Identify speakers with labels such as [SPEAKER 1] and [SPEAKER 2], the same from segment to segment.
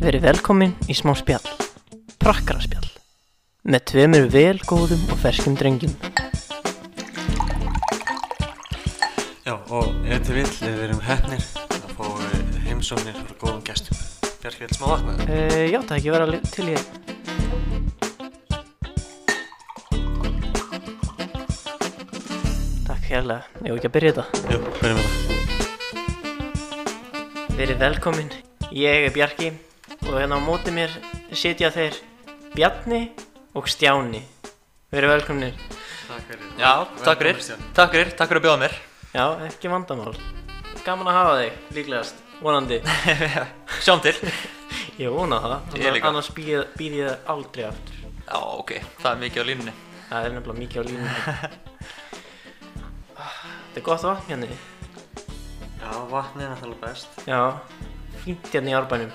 [SPEAKER 1] Verið velkomin í smá spjall, prakkaraspjall, með tveimur vel góðum og ferskum drengjum.
[SPEAKER 2] Já, og ef þið vill, við erum hefnir að fá eh, heimsóknir frá góðum gestum. Bjarki, vil smá vakna?
[SPEAKER 1] Uh, já, það ekki vera li- til ég. Takk hérlega, ég ekki að byrja þetta.
[SPEAKER 2] Jú, byrjum við það.
[SPEAKER 1] Verið velkomin, ég er Bjarki og hérna á móti mér sitja þeir Bjarni og Stjáni. Verið velkominir.
[SPEAKER 2] Takk fyrir.
[SPEAKER 3] Já, takk fyrir, takk fyrir, takk fyrir að bjóða mér
[SPEAKER 1] Já, ekki vandamál. Gaman að hafa þig, líklegast, vonandi.
[SPEAKER 3] Sjáum til
[SPEAKER 1] Ég vona það,
[SPEAKER 3] Ég líka.
[SPEAKER 1] annars býð ég, býð ég það aldrei aftur.
[SPEAKER 3] Já, ok, það er mikið á línunni
[SPEAKER 1] Það er nefnilega mikið á línunni. Ah, Þetta er gott vatn hérna.
[SPEAKER 2] Já, vatnið er náttúrulega best.
[SPEAKER 1] Já, fínt hérna í árbænum.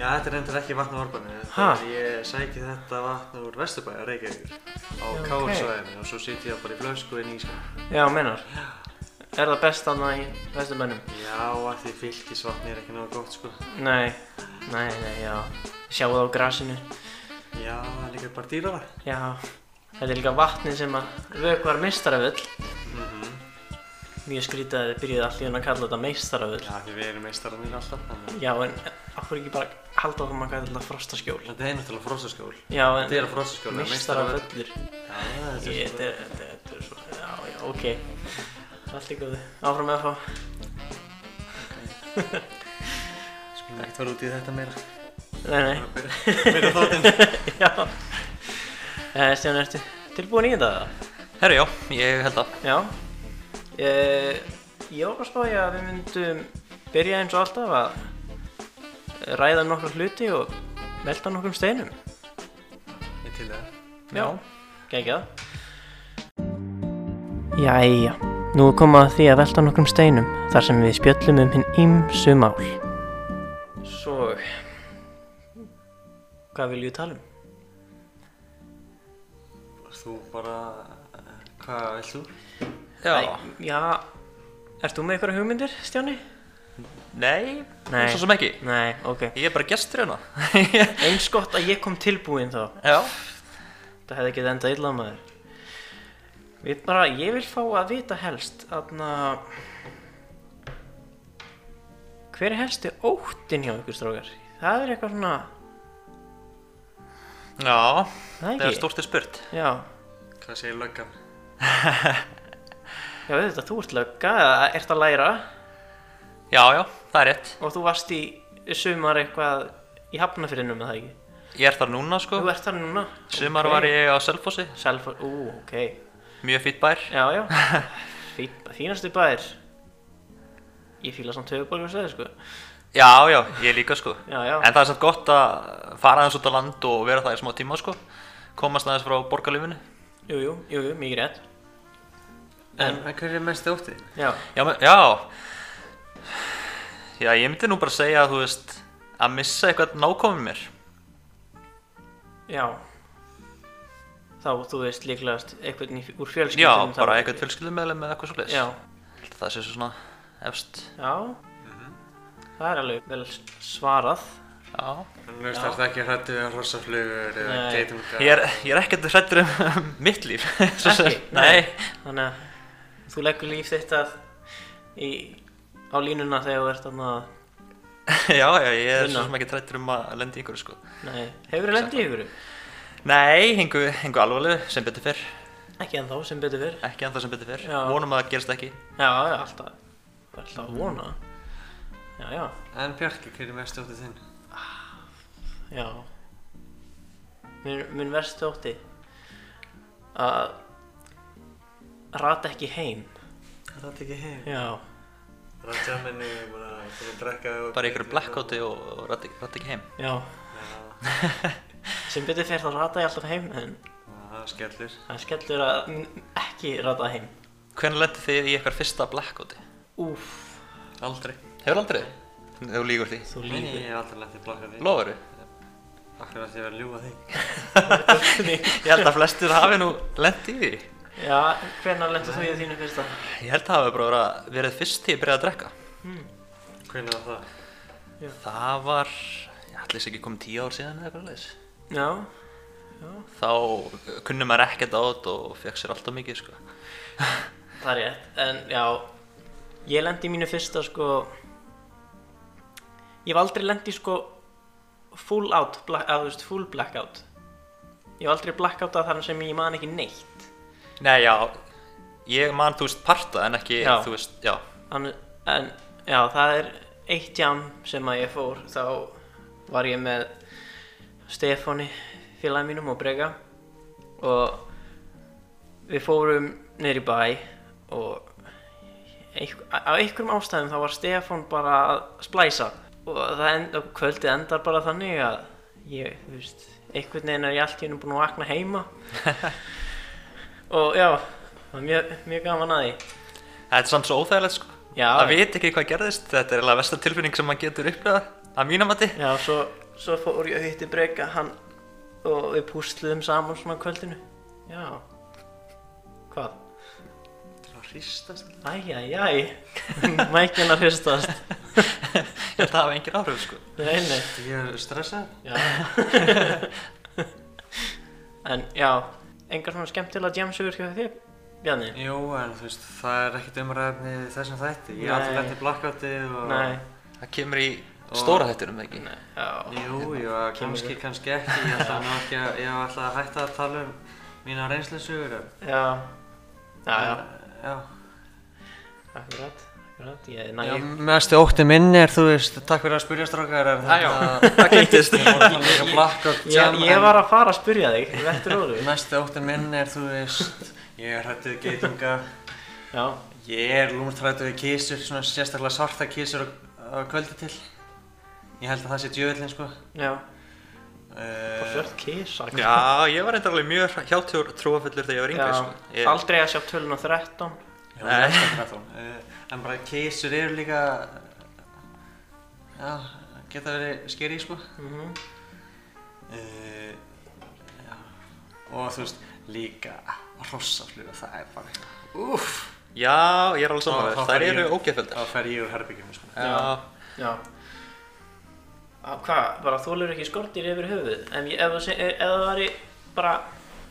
[SPEAKER 2] Já, þetta er reyndar ekki vatn á orbaninu.
[SPEAKER 1] Ha?
[SPEAKER 2] Ég sæki þetta vatn úr Vesturbæja, Reykjavíkur, á
[SPEAKER 1] Já, ok.
[SPEAKER 2] Káursvæðinu og svo sit ég bara í flösku inn í sko. Ísland.
[SPEAKER 1] Já, menar. Er það best annað í vestumönnum?
[SPEAKER 2] Já, að því fylgisvatn er ekki náttúrulega gott, sko.
[SPEAKER 1] Nei, nei, nei, já. Sjáu það á grasinu.
[SPEAKER 2] Já, líka bara dýrara.
[SPEAKER 1] Já, þetta er líka vatnið sem að vökvar meistaraföll. Mhm. Mjög skrítið að þið byrjuði allir hérna að kalla þetta meistaraföll.
[SPEAKER 2] Já, því við erum meistararnir alltaf, þannig.
[SPEAKER 1] Já, en okkur ekki bara halda áfram að kalla þetta frostaskjól.
[SPEAKER 2] Þetta er náttúrulega frostaskjól.
[SPEAKER 1] Já, en
[SPEAKER 2] Þetta er að frostaskjól, það er meistaravöll.
[SPEAKER 1] meistaraföllur.
[SPEAKER 2] Já, þetta
[SPEAKER 1] Ég-
[SPEAKER 2] er
[SPEAKER 1] Þetta er, þetta er- þetta er svo, já, já, ok Allt í góðu, áfram með FH
[SPEAKER 2] Skulum ekkert fara út í þetta meira. sko.
[SPEAKER 1] Nei, nei,
[SPEAKER 2] Meira þáttinn.
[SPEAKER 1] já eh, Stján, ertu tilbúin í þetta? eða?
[SPEAKER 3] Herru, já, ég held að
[SPEAKER 1] Já eh, Ég var bara að spája að við myndum byrja eins og alltaf að ræða nokkra hluti og velta nokkrum steinum
[SPEAKER 2] Ég til það.
[SPEAKER 1] Já, geggjað Jæja, nú er komað að því að velta nokkrum steinum þar sem við spjöllum um hinn ímsu mál Svo Hvað viljum við tala um?
[SPEAKER 2] Þú bara, eh, hvað vilt þú?
[SPEAKER 3] Já,
[SPEAKER 1] Æ, já Ert þú með eitthvað hugmyndir, Stjáni?
[SPEAKER 3] nei,
[SPEAKER 1] Nei.
[SPEAKER 3] svo sem ekki
[SPEAKER 1] Nei, ok
[SPEAKER 3] Ég er bara gestur hérna
[SPEAKER 1] Eins gott að ég kom tilbúin þá
[SPEAKER 3] Já,
[SPEAKER 1] Það hefði ekki endað illa maður Við bara, ég vil fá að vita helst Þarna Hver er helsti óttinn hjá ykkur strákar? Það er eitthvað svona
[SPEAKER 3] já,
[SPEAKER 1] Það er
[SPEAKER 3] það
[SPEAKER 1] ekki
[SPEAKER 3] er stórt er spurt
[SPEAKER 1] Já,
[SPEAKER 2] Hvað segir löggan?
[SPEAKER 1] já auðvitað, þú ert lögga eða ert að læra
[SPEAKER 3] Já, já, það er rétt
[SPEAKER 1] og þú varst í sumar eitthvað í hafnafyrinum með það ekki
[SPEAKER 3] Ég er þar núna, sko
[SPEAKER 1] Þú ert þar núna
[SPEAKER 3] Sumar var ég á Selfossi,
[SPEAKER 1] Self, ú, ok
[SPEAKER 3] mjög fýtt bær
[SPEAKER 1] Já, já Fín, Fínastu bæðir Ég fíla samt höfuborgarsveði sko
[SPEAKER 3] Já, já, ég líka, sko
[SPEAKER 1] Já, já.
[SPEAKER 3] En það er samt gott að fara aðeins út á land og vera það í smá tíma, sko Komast aðeins frá borgarlifinu
[SPEAKER 1] Jú, jú, jú, jú, mikið rétt
[SPEAKER 2] En, en hver er mest óttið?
[SPEAKER 1] Já,
[SPEAKER 3] Já, men, já. Já, ég myndi nú bara segja að þú veist að missa eitthvað nákomið mér.
[SPEAKER 1] já Þá, þú veist líklegast einhvern í, úr
[SPEAKER 3] Já,
[SPEAKER 1] fjölskyldum
[SPEAKER 3] bara eitthvað fjölskyldumeðlum eða eitthvað svo leiðis.
[SPEAKER 1] um Já,
[SPEAKER 3] Það sé svo svona efst.
[SPEAKER 1] já
[SPEAKER 3] Mhm.
[SPEAKER 1] Það er alveg vel svarað
[SPEAKER 3] Já.
[SPEAKER 2] En þú veist, það er ekki hrættu við rossaflugur eða um
[SPEAKER 1] Nei.
[SPEAKER 2] geitungar.
[SPEAKER 3] Ég er, ég er ekkert hrættur um mitt líf. svo sem-
[SPEAKER 1] Ekki?
[SPEAKER 3] Nei.
[SPEAKER 1] Þannig að þú leggur líf þitt að í, á línuna þegar þú ert þarna
[SPEAKER 3] já, já, ég er
[SPEAKER 1] Vinna.
[SPEAKER 3] svo sem ekki hrættur um að lenda í einhverju sko.
[SPEAKER 1] Nei, hefur þú lendið ykkur?
[SPEAKER 3] Nei, einhver, einhver alvarlegu sem betur fyrr.
[SPEAKER 1] Ekki en þá sem betur fyrr
[SPEAKER 3] Ekki en það sem betur fyrr.
[SPEAKER 1] Já.
[SPEAKER 3] Vonum að það gerist ekki.
[SPEAKER 1] Já, já, alltaf Alltaf að vona Já, já,
[SPEAKER 2] En Bjarki, hver er mest óttið þinn?
[SPEAKER 1] já Minn, minn verstu ótti að rata ekki heim
[SPEAKER 2] Það er ekki heim.
[SPEAKER 1] Já,
[SPEAKER 2] Það er tjáminni, bara, bara drekka og...
[SPEAKER 3] Bara einhverju blackouti og, og rætt ekki heim.
[SPEAKER 1] já
[SPEAKER 2] Já,
[SPEAKER 1] Sem betur fyrir þá rata ég alltaf heim en
[SPEAKER 2] það skellir.
[SPEAKER 1] það er skellur að n- ekki rata heim
[SPEAKER 3] Hvernig lendi þið í eitthvað fyrsta blackouti?
[SPEAKER 1] Úf,
[SPEAKER 3] Aldrei. Hefur aldrei? Þú lígur því.
[SPEAKER 1] þú
[SPEAKER 2] Nei,
[SPEAKER 1] lífið
[SPEAKER 2] ég hef aldrei lett í blokka því.
[SPEAKER 3] Lofur
[SPEAKER 2] Akkur að ég var að ljúa því.
[SPEAKER 3] Ég held að flestir hafi nú lent í því.
[SPEAKER 1] Já, hvenær lendur þú í þínu fyrsta?
[SPEAKER 3] Ég held að það hafi bara verið- verið fyrst því ég byrjaði að drekka.
[SPEAKER 2] Hvernig var það?
[SPEAKER 1] Já.
[SPEAKER 3] það var, ég ætlis ekki komið tíu ár síðan eða eitthvað leis
[SPEAKER 1] Já,
[SPEAKER 3] þá uh, kunni maður ekkert á þetta og fekk sér alltaf mikið sko.
[SPEAKER 1] það er rétt. En já, ég lendi í mínu fyrsta sko, ég hef aldrei lendi sko full out, black, að, þú veist, full blackout. Ég hef aldrei blackoutað þar sem ég man ekki neitt.
[SPEAKER 3] Nei, já, ég man, þú veist, parta en ekki,
[SPEAKER 1] Já.
[SPEAKER 3] þú veist, já,
[SPEAKER 1] Þannig, en já, það er eitt jam sem að ég fór, þá var ég með Stefáni, félagi mínum og Brega og við fórum niður í bæ og einhver, á einhverjum ástæðum þá var Stefán bara að splæsa og það end, og kvöldið endar bara þannig að ég, þú veist, einhvern veginn er ég allt í hennu búin að vakna heima og já, það var mjög, mjög gaman að því.
[SPEAKER 3] þetta er samt svo óþægilegt sko.
[SPEAKER 1] Já,
[SPEAKER 3] Það veit ekki hvað gerðist, þetta er eiginlega versta tilfinning sem maður getur upplifað, að mínamati.
[SPEAKER 1] Já, svo, svo fór ég að hitti Breka hann og við pústluðum saman svona á kvöldinu. Já. Hvað?
[SPEAKER 2] Þetta er að hristast.
[SPEAKER 1] Æjæjæj, mækinn að hristast.
[SPEAKER 3] Ég held að það hafa engin áhrif sko.
[SPEAKER 1] Nei, nei.
[SPEAKER 2] Ég er stressað.
[SPEAKER 1] Já. en já, engar svona skemmtilega jamsugur hjá þér, Bjarni?
[SPEAKER 2] Jú, en þú veist, það er ekkert umræðni þessum þætti. Ég
[SPEAKER 1] Nei.
[SPEAKER 2] er alltaf lent í blackoutið og...
[SPEAKER 1] Nei.
[SPEAKER 3] Það kemur í
[SPEAKER 2] Og-
[SPEAKER 3] stóra hættinum ekki.
[SPEAKER 1] Nei, já.
[SPEAKER 2] Jú, jú, kannski, kannski ekki. Ég ætla nú ekki að, ég ætla að hætta að tala um mína reynslusögur. en-
[SPEAKER 1] Já. Já, já.
[SPEAKER 2] Já.
[SPEAKER 1] Akkurat, akkurat. Ég, næ,
[SPEAKER 2] Já,
[SPEAKER 1] ég,
[SPEAKER 2] mestu ótti minn er, þú veist, takk fyrir að spyrja strákar, en
[SPEAKER 3] Ah, já.
[SPEAKER 2] það gætist. Ég var alltaf líka blackout
[SPEAKER 1] ég, ég var að fara að spyrja þig, vettur
[SPEAKER 2] en
[SPEAKER 1] óður.
[SPEAKER 2] mestu ótti minn er, þú veist, ég er hættið geitunga,
[SPEAKER 1] Já.
[SPEAKER 2] ég er lúmtrættu við kísur, svona sérstaklega svarta kísur á, á kvöldi til. Ég held að það sé djöðlinn, sko.
[SPEAKER 1] Já.
[SPEAKER 2] Uh,
[SPEAKER 1] Og svört kísa.
[SPEAKER 3] Já, ég var reyndar alveg mjög hjálptjór trúafullur þegar ég var yngri
[SPEAKER 1] Já,
[SPEAKER 3] sko. Ég,
[SPEAKER 1] Aldrei að sjá tölun á 13
[SPEAKER 2] Já,
[SPEAKER 3] Nei.
[SPEAKER 2] ég elska triathlon. Eh, En bara keisur eru líka, já, geta verið skeri, sko.
[SPEAKER 1] Mhm.
[SPEAKER 2] Uh, já. Og þú veist, líka rossafluga, það er bara, úff.
[SPEAKER 3] já, ég er alveg saman
[SPEAKER 2] Þá-
[SPEAKER 3] þér.
[SPEAKER 2] þá
[SPEAKER 3] Þær
[SPEAKER 2] fer
[SPEAKER 3] eru
[SPEAKER 2] ég-
[SPEAKER 3] ógeðfjöldar.
[SPEAKER 2] Þá fer ég úr herbyggjum, sko.
[SPEAKER 1] Já. Já Á, Hvað, bara þólur ekki skortir yfir höfuð En ég, ef, það sé- ef það væri bara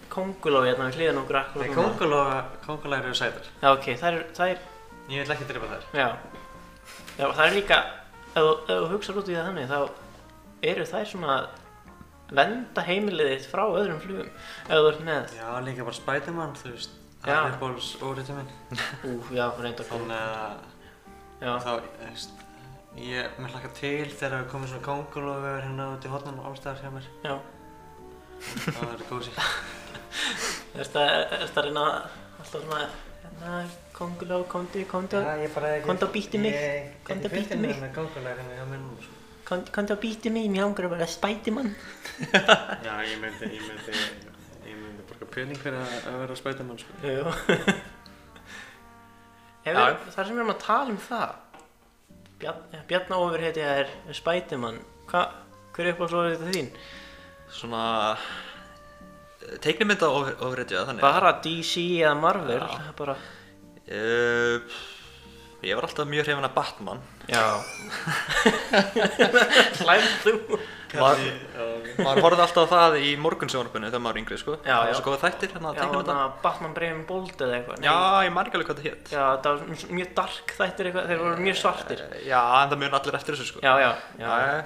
[SPEAKER 1] konguló hérna við hliðan okkur akkur
[SPEAKER 2] Nei, kongulóa, kongulóa eru sætar.
[SPEAKER 1] Já, ok, það er, það er,
[SPEAKER 2] Ég vil ekki drepa þær.
[SPEAKER 1] já Já, það er líka Ef þú- ef þú hugsar út í það þannig þá eru þær svona að venda heimilið þitt frá öðrum flugum ef þú ert með
[SPEAKER 2] Já, líka bara Spiderman, þú veist.
[SPEAKER 1] Já.
[SPEAKER 2] Það er bóls óriðið minn.
[SPEAKER 1] Ú, já, reynda
[SPEAKER 2] Þannig að,
[SPEAKER 1] Já,
[SPEAKER 2] þá, þú veist, ég, mér hlakka til þegar það er komið svona kongulóa hérna út í hotnum og allstaðar hjá mér.
[SPEAKER 1] já
[SPEAKER 2] Það verður kósi.
[SPEAKER 1] Er þetta reyna að- alltaf svona hérna, konguló, kondi, kondi
[SPEAKER 2] Já, ég bara ekki...
[SPEAKER 1] Komdu og bíttu mig. Komdu og bíttu mig.
[SPEAKER 2] Ég er gangulegurinn hjá mér núna, sko.
[SPEAKER 1] Kondi að býti mig, mér langar að vera spætimann
[SPEAKER 2] Já, ég myndi, ég myndi, ég myndi borga pening fyrir að að vera spætamann, sko.
[SPEAKER 1] Jú
[SPEAKER 3] Já.
[SPEAKER 1] Þar sem við erum að tala um það Bjarn- Bjarna ofur heiti það er spætimann Hva, hver er uppáðslóður þetta þín?
[SPEAKER 3] Svona, teiknumynda ofréttja þannig.
[SPEAKER 1] Bara DC eða Marvel það er bara,
[SPEAKER 3] Uh, ég var alltaf mjög hrifin af Batman.
[SPEAKER 1] Já Hlæm þú
[SPEAKER 3] Maður-
[SPEAKER 2] Já,
[SPEAKER 3] Maður horfði alltaf á það í morgunsjónarpunni þegar maður var yngri sko.
[SPEAKER 1] Já,
[SPEAKER 3] það var
[SPEAKER 1] já.
[SPEAKER 3] svo góða þættir hérna að
[SPEAKER 1] Já,
[SPEAKER 3] teiknumynda.
[SPEAKER 1] þarna Batman Breivin Bold eða eitthvað Nei.
[SPEAKER 3] Já, ég marg alveg hvað það hétt.
[SPEAKER 1] Já, það var mjög- mjög dark þættir eitthvað, þeir voru mjög svartir
[SPEAKER 3] Eh, Já, en það mun allir eftir þessu sko.
[SPEAKER 1] Já, já, já,
[SPEAKER 3] Jæja.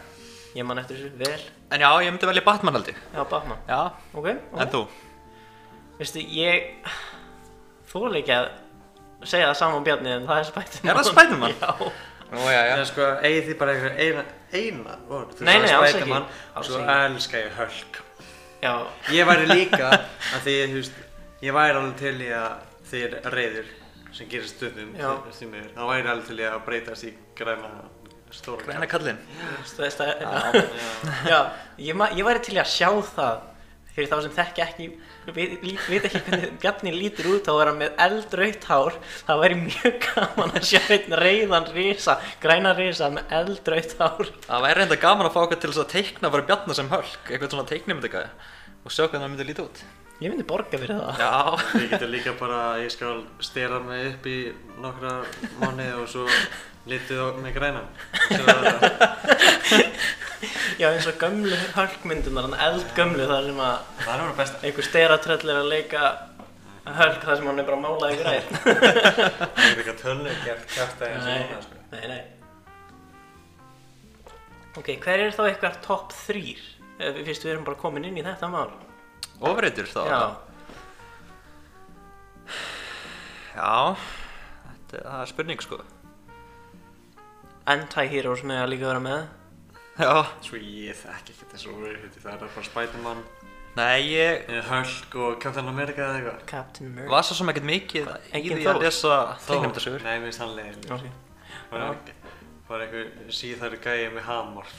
[SPEAKER 1] ég man eftir þessu vel
[SPEAKER 3] En já, ég myndi velja Batman held ég.
[SPEAKER 1] Já, Batman,
[SPEAKER 3] Já,
[SPEAKER 1] ok,
[SPEAKER 3] en
[SPEAKER 1] ok
[SPEAKER 3] þú?
[SPEAKER 1] Veistu, ég þóla ekki að segja það saman Bjarni en það er Spiderman
[SPEAKER 3] Er það Spiderman?
[SPEAKER 1] Já,
[SPEAKER 3] Nú, já,
[SPEAKER 2] Það er sko, eigi því bara einhver eina, eina orð. Þú
[SPEAKER 1] Nei, nei,
[SPEAKER 2] sagði
[SPEAKER 1] alls ekki.
[SPEAKER 2] Spiderman,
[SPEAKER 1] Alls
[SPEAKER 2] Og svo
[SPEAKER 1] ekki.
[SPEAKER 2] elska ég Hulk.
[SPEAKER 1] já,
[SPEAKER 2] Ég væri líka, að því, þú veist, ég væri alveg til í að þið er reyður sem gerist stundum,
[SPEAKER 1] Já.
[SPEAKER 2] því miður. Þá væri alveg til í að breytast í græna, stóra
[SPEAKER 3] Græna Hérna, kallinn.
[SPEAKER 1] þú veist það Já, já ég, ma- ég væri til í að sjá það fyrir þá sem þekki ekki veit, lít- veit ekki hvernig Bjarni lítur út þá er hann með eldraut hár það væri mjög gaman að sjá einn reyðan risa, græna risa með eldraut hár
[SPEAKER 3] Það væri reynda gaman að fá okkur til þess að teikna bara bjarnar sem hölk, eitthvað svona teiknumyndagæði og sjá hvernig það myndi líta út.
[SPEAKER 1] Ég myndi borga fyrir það.
[SPEAKER 3] Já,
[SPEAKER 2] Ég geti líka bara, ég skal stera mig upp í nokkra mánuði og svo litið á mig grænan. Og svo er það-
[SPEAKER 1] Já, eins og gömlu hölkmyndunar, þannig eldgömlu þar sem að
[SPEAKER 2] Það er bara besta.
[SPEAKER 1] einhver steratröll er að leika hölk þar sem hann er bara að mála í græn.
[SPEAKER 2] Ég get ekki tölnið gert kæft aðeins og núna, sko.
[SPEAKER 1] nei, nei. Ok, hver er þá ykkar topp þrýr? Fyrst við erum bara komin inn í þetta mál.
[SPEAKER 3] ofreitur þá
[SPEAKER 1] Já,
[SPEAKER 3] Já, þetta það er spurning sko
[SPEAKER 1] anti-heroes með að líka vera með.
[SPEAKER 3] Já,
[SPEAKER 2] Svo ég þekki ekki þessu úr, það er bara Spiderman,
[SPEAKER 3] nei, ég
[SPEAKER 2] eh, Hulk og Captain America eða eitthvað.
[SPEAKER 1] Captain America.
[SPEAKER 3] var svo sem ekkert mikið í
[SPEAKER 1] Engin
[SPEAKER 3] því að
[SPEAKER 1] Þór?
[SPEAKER 3] lesa
[SPEAKER 2] Þór?
[SPEAKER 3] þingnefndasögur
[SPEAKER 2] Nei, mér finnst hann leiðin.
[SPEAKER 1] Ok.
[SPEAKER 2] Bara, bara einhver síðar gæja með hamar.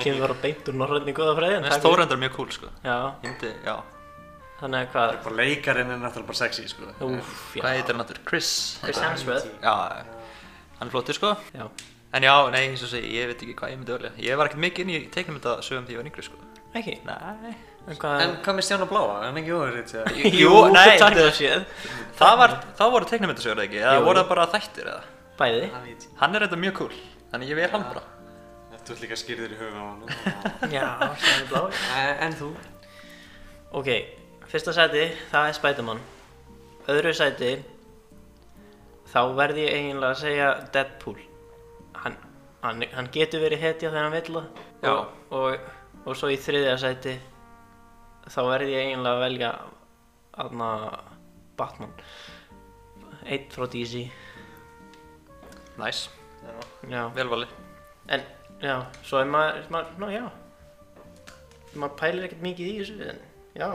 [SPEAKER 1] Kemur bara beint úr norrænni góðafræðin.
[SPEAKER 3] Mér finnst Þór endur mjög cool sko
[SPEAKER 1] Já,
[SPEAKER 3] Ég myndi, já,
[SPEAKER 1] þannig að hvað?
[SPEAKER 2] Bara leikarinn er náttúrulega bara sexy, sko.
[SPEAKER 1] Úf, já.
[SPEAKER 3] hvað heitir hann aftur? Chris
[SPEAKER 1] Chris Hemsworth.
[SPEAKER 3] Já, hann er flottir sko
[SPEAKER 1] Já.
[SPEAKER 3] En já, nei, eins og segi, ég veit ekki hvað ég myndi öllu Ég var ekkert mikið inn í teiknumyndasögum því ég var yngri sko
[SPEAKER 1] Ekki?
[SPEAKER 3] Nei
[SPEAKER 1] En hvað?
[SPEAKER 2] En hvað með Stjána Bláa? Er Hann er ekki óverið, þetta.
[SPEAKER 1] Jú,
[SPEAKER 3] nei,
[SPEAKER 1] það
[SPEAKER 3] þetta-
[SPEAKER 1] er séð.
[SPEAKER 3] Það var, þá voru teiknumyndasögur eða ekki, eða
[SPEAKER 1] Jú.
[SPEAKER 3] voru það bara þættir eða
[SPEAKER 1] Bæði.
[SPEAKER 2] Það veit ég.
[SPEAKER 3] Hann er þetta mjög cool, þannig ég vil hann bara
[SPEAKER 2] Þú ert líka skýrður í huga á hann.
[SPEAKER 1] Já, stjórnum blá.
[SPEAKER 2] En þú?
[SPEAKER 1] Ok, fyrsta sæti, það er Spiderman. Öðru sæti, þá verð ég eiginlega að segja Deadpool. Hann, hann, hann getur verið hetja þegar hann vill það.
[SPEAKER 3] Já.
[SPEAKER 1] Og, og, og svo í þriðja sæti, þá verð ég eiginlega að velja aðna Batman. Eitt frá DC.
[SPEAKER 3] Næs,
[SPEAKER 1] Já.
[SPEAKER 3] velvali
[SPEAKER 1] En, já, svo er maður, maður ná, já. Maður pælir ekkert mikið í þessu, en, já.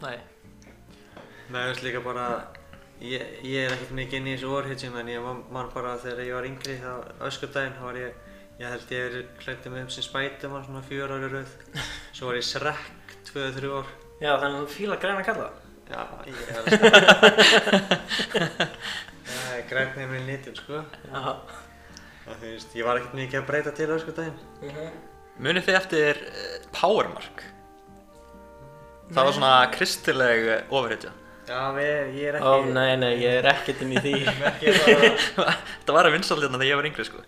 [SPEAKER 3] Nei
[SPEAKER 2] Nei, þú veist líka bara, ég, ég er ekkert mikið inn í þessu orðhitjum en ég man- man bara þegar ég var yngri þá öskudaginn þá var ég, ég held ég verið klættið mig upp sem Spiderman svona fjör ári rauð. Svo var ég Shrek 2-3 ár.
[SPEAKER 1] Já, þannig að þú fíla græna kalla?
[SPEAKER 2] Já, ég er alveg sko. Það er grænt með minn litin sko.
[SPEAKER 1] Já.
[SPEAKER 2] Og Þú veist, ég var ekkert mikið að breyta til öskudaginn.
[SPEAKER 1] Mhm.
[SPEAKER 3] Munið þið eftir uh, Powermark? Það var svona kristileg eh, ofurhetja.
[SPEAKER 2] Já, við, ég er ekki...
[SPEAKER 1] Ó, nei, nei, ég er ekkert inn í því.
[SPEAKER 2] Ekki bara,
[SPEAKER 3] Þetta var að vinsal hérna þegar ég var yngri sko.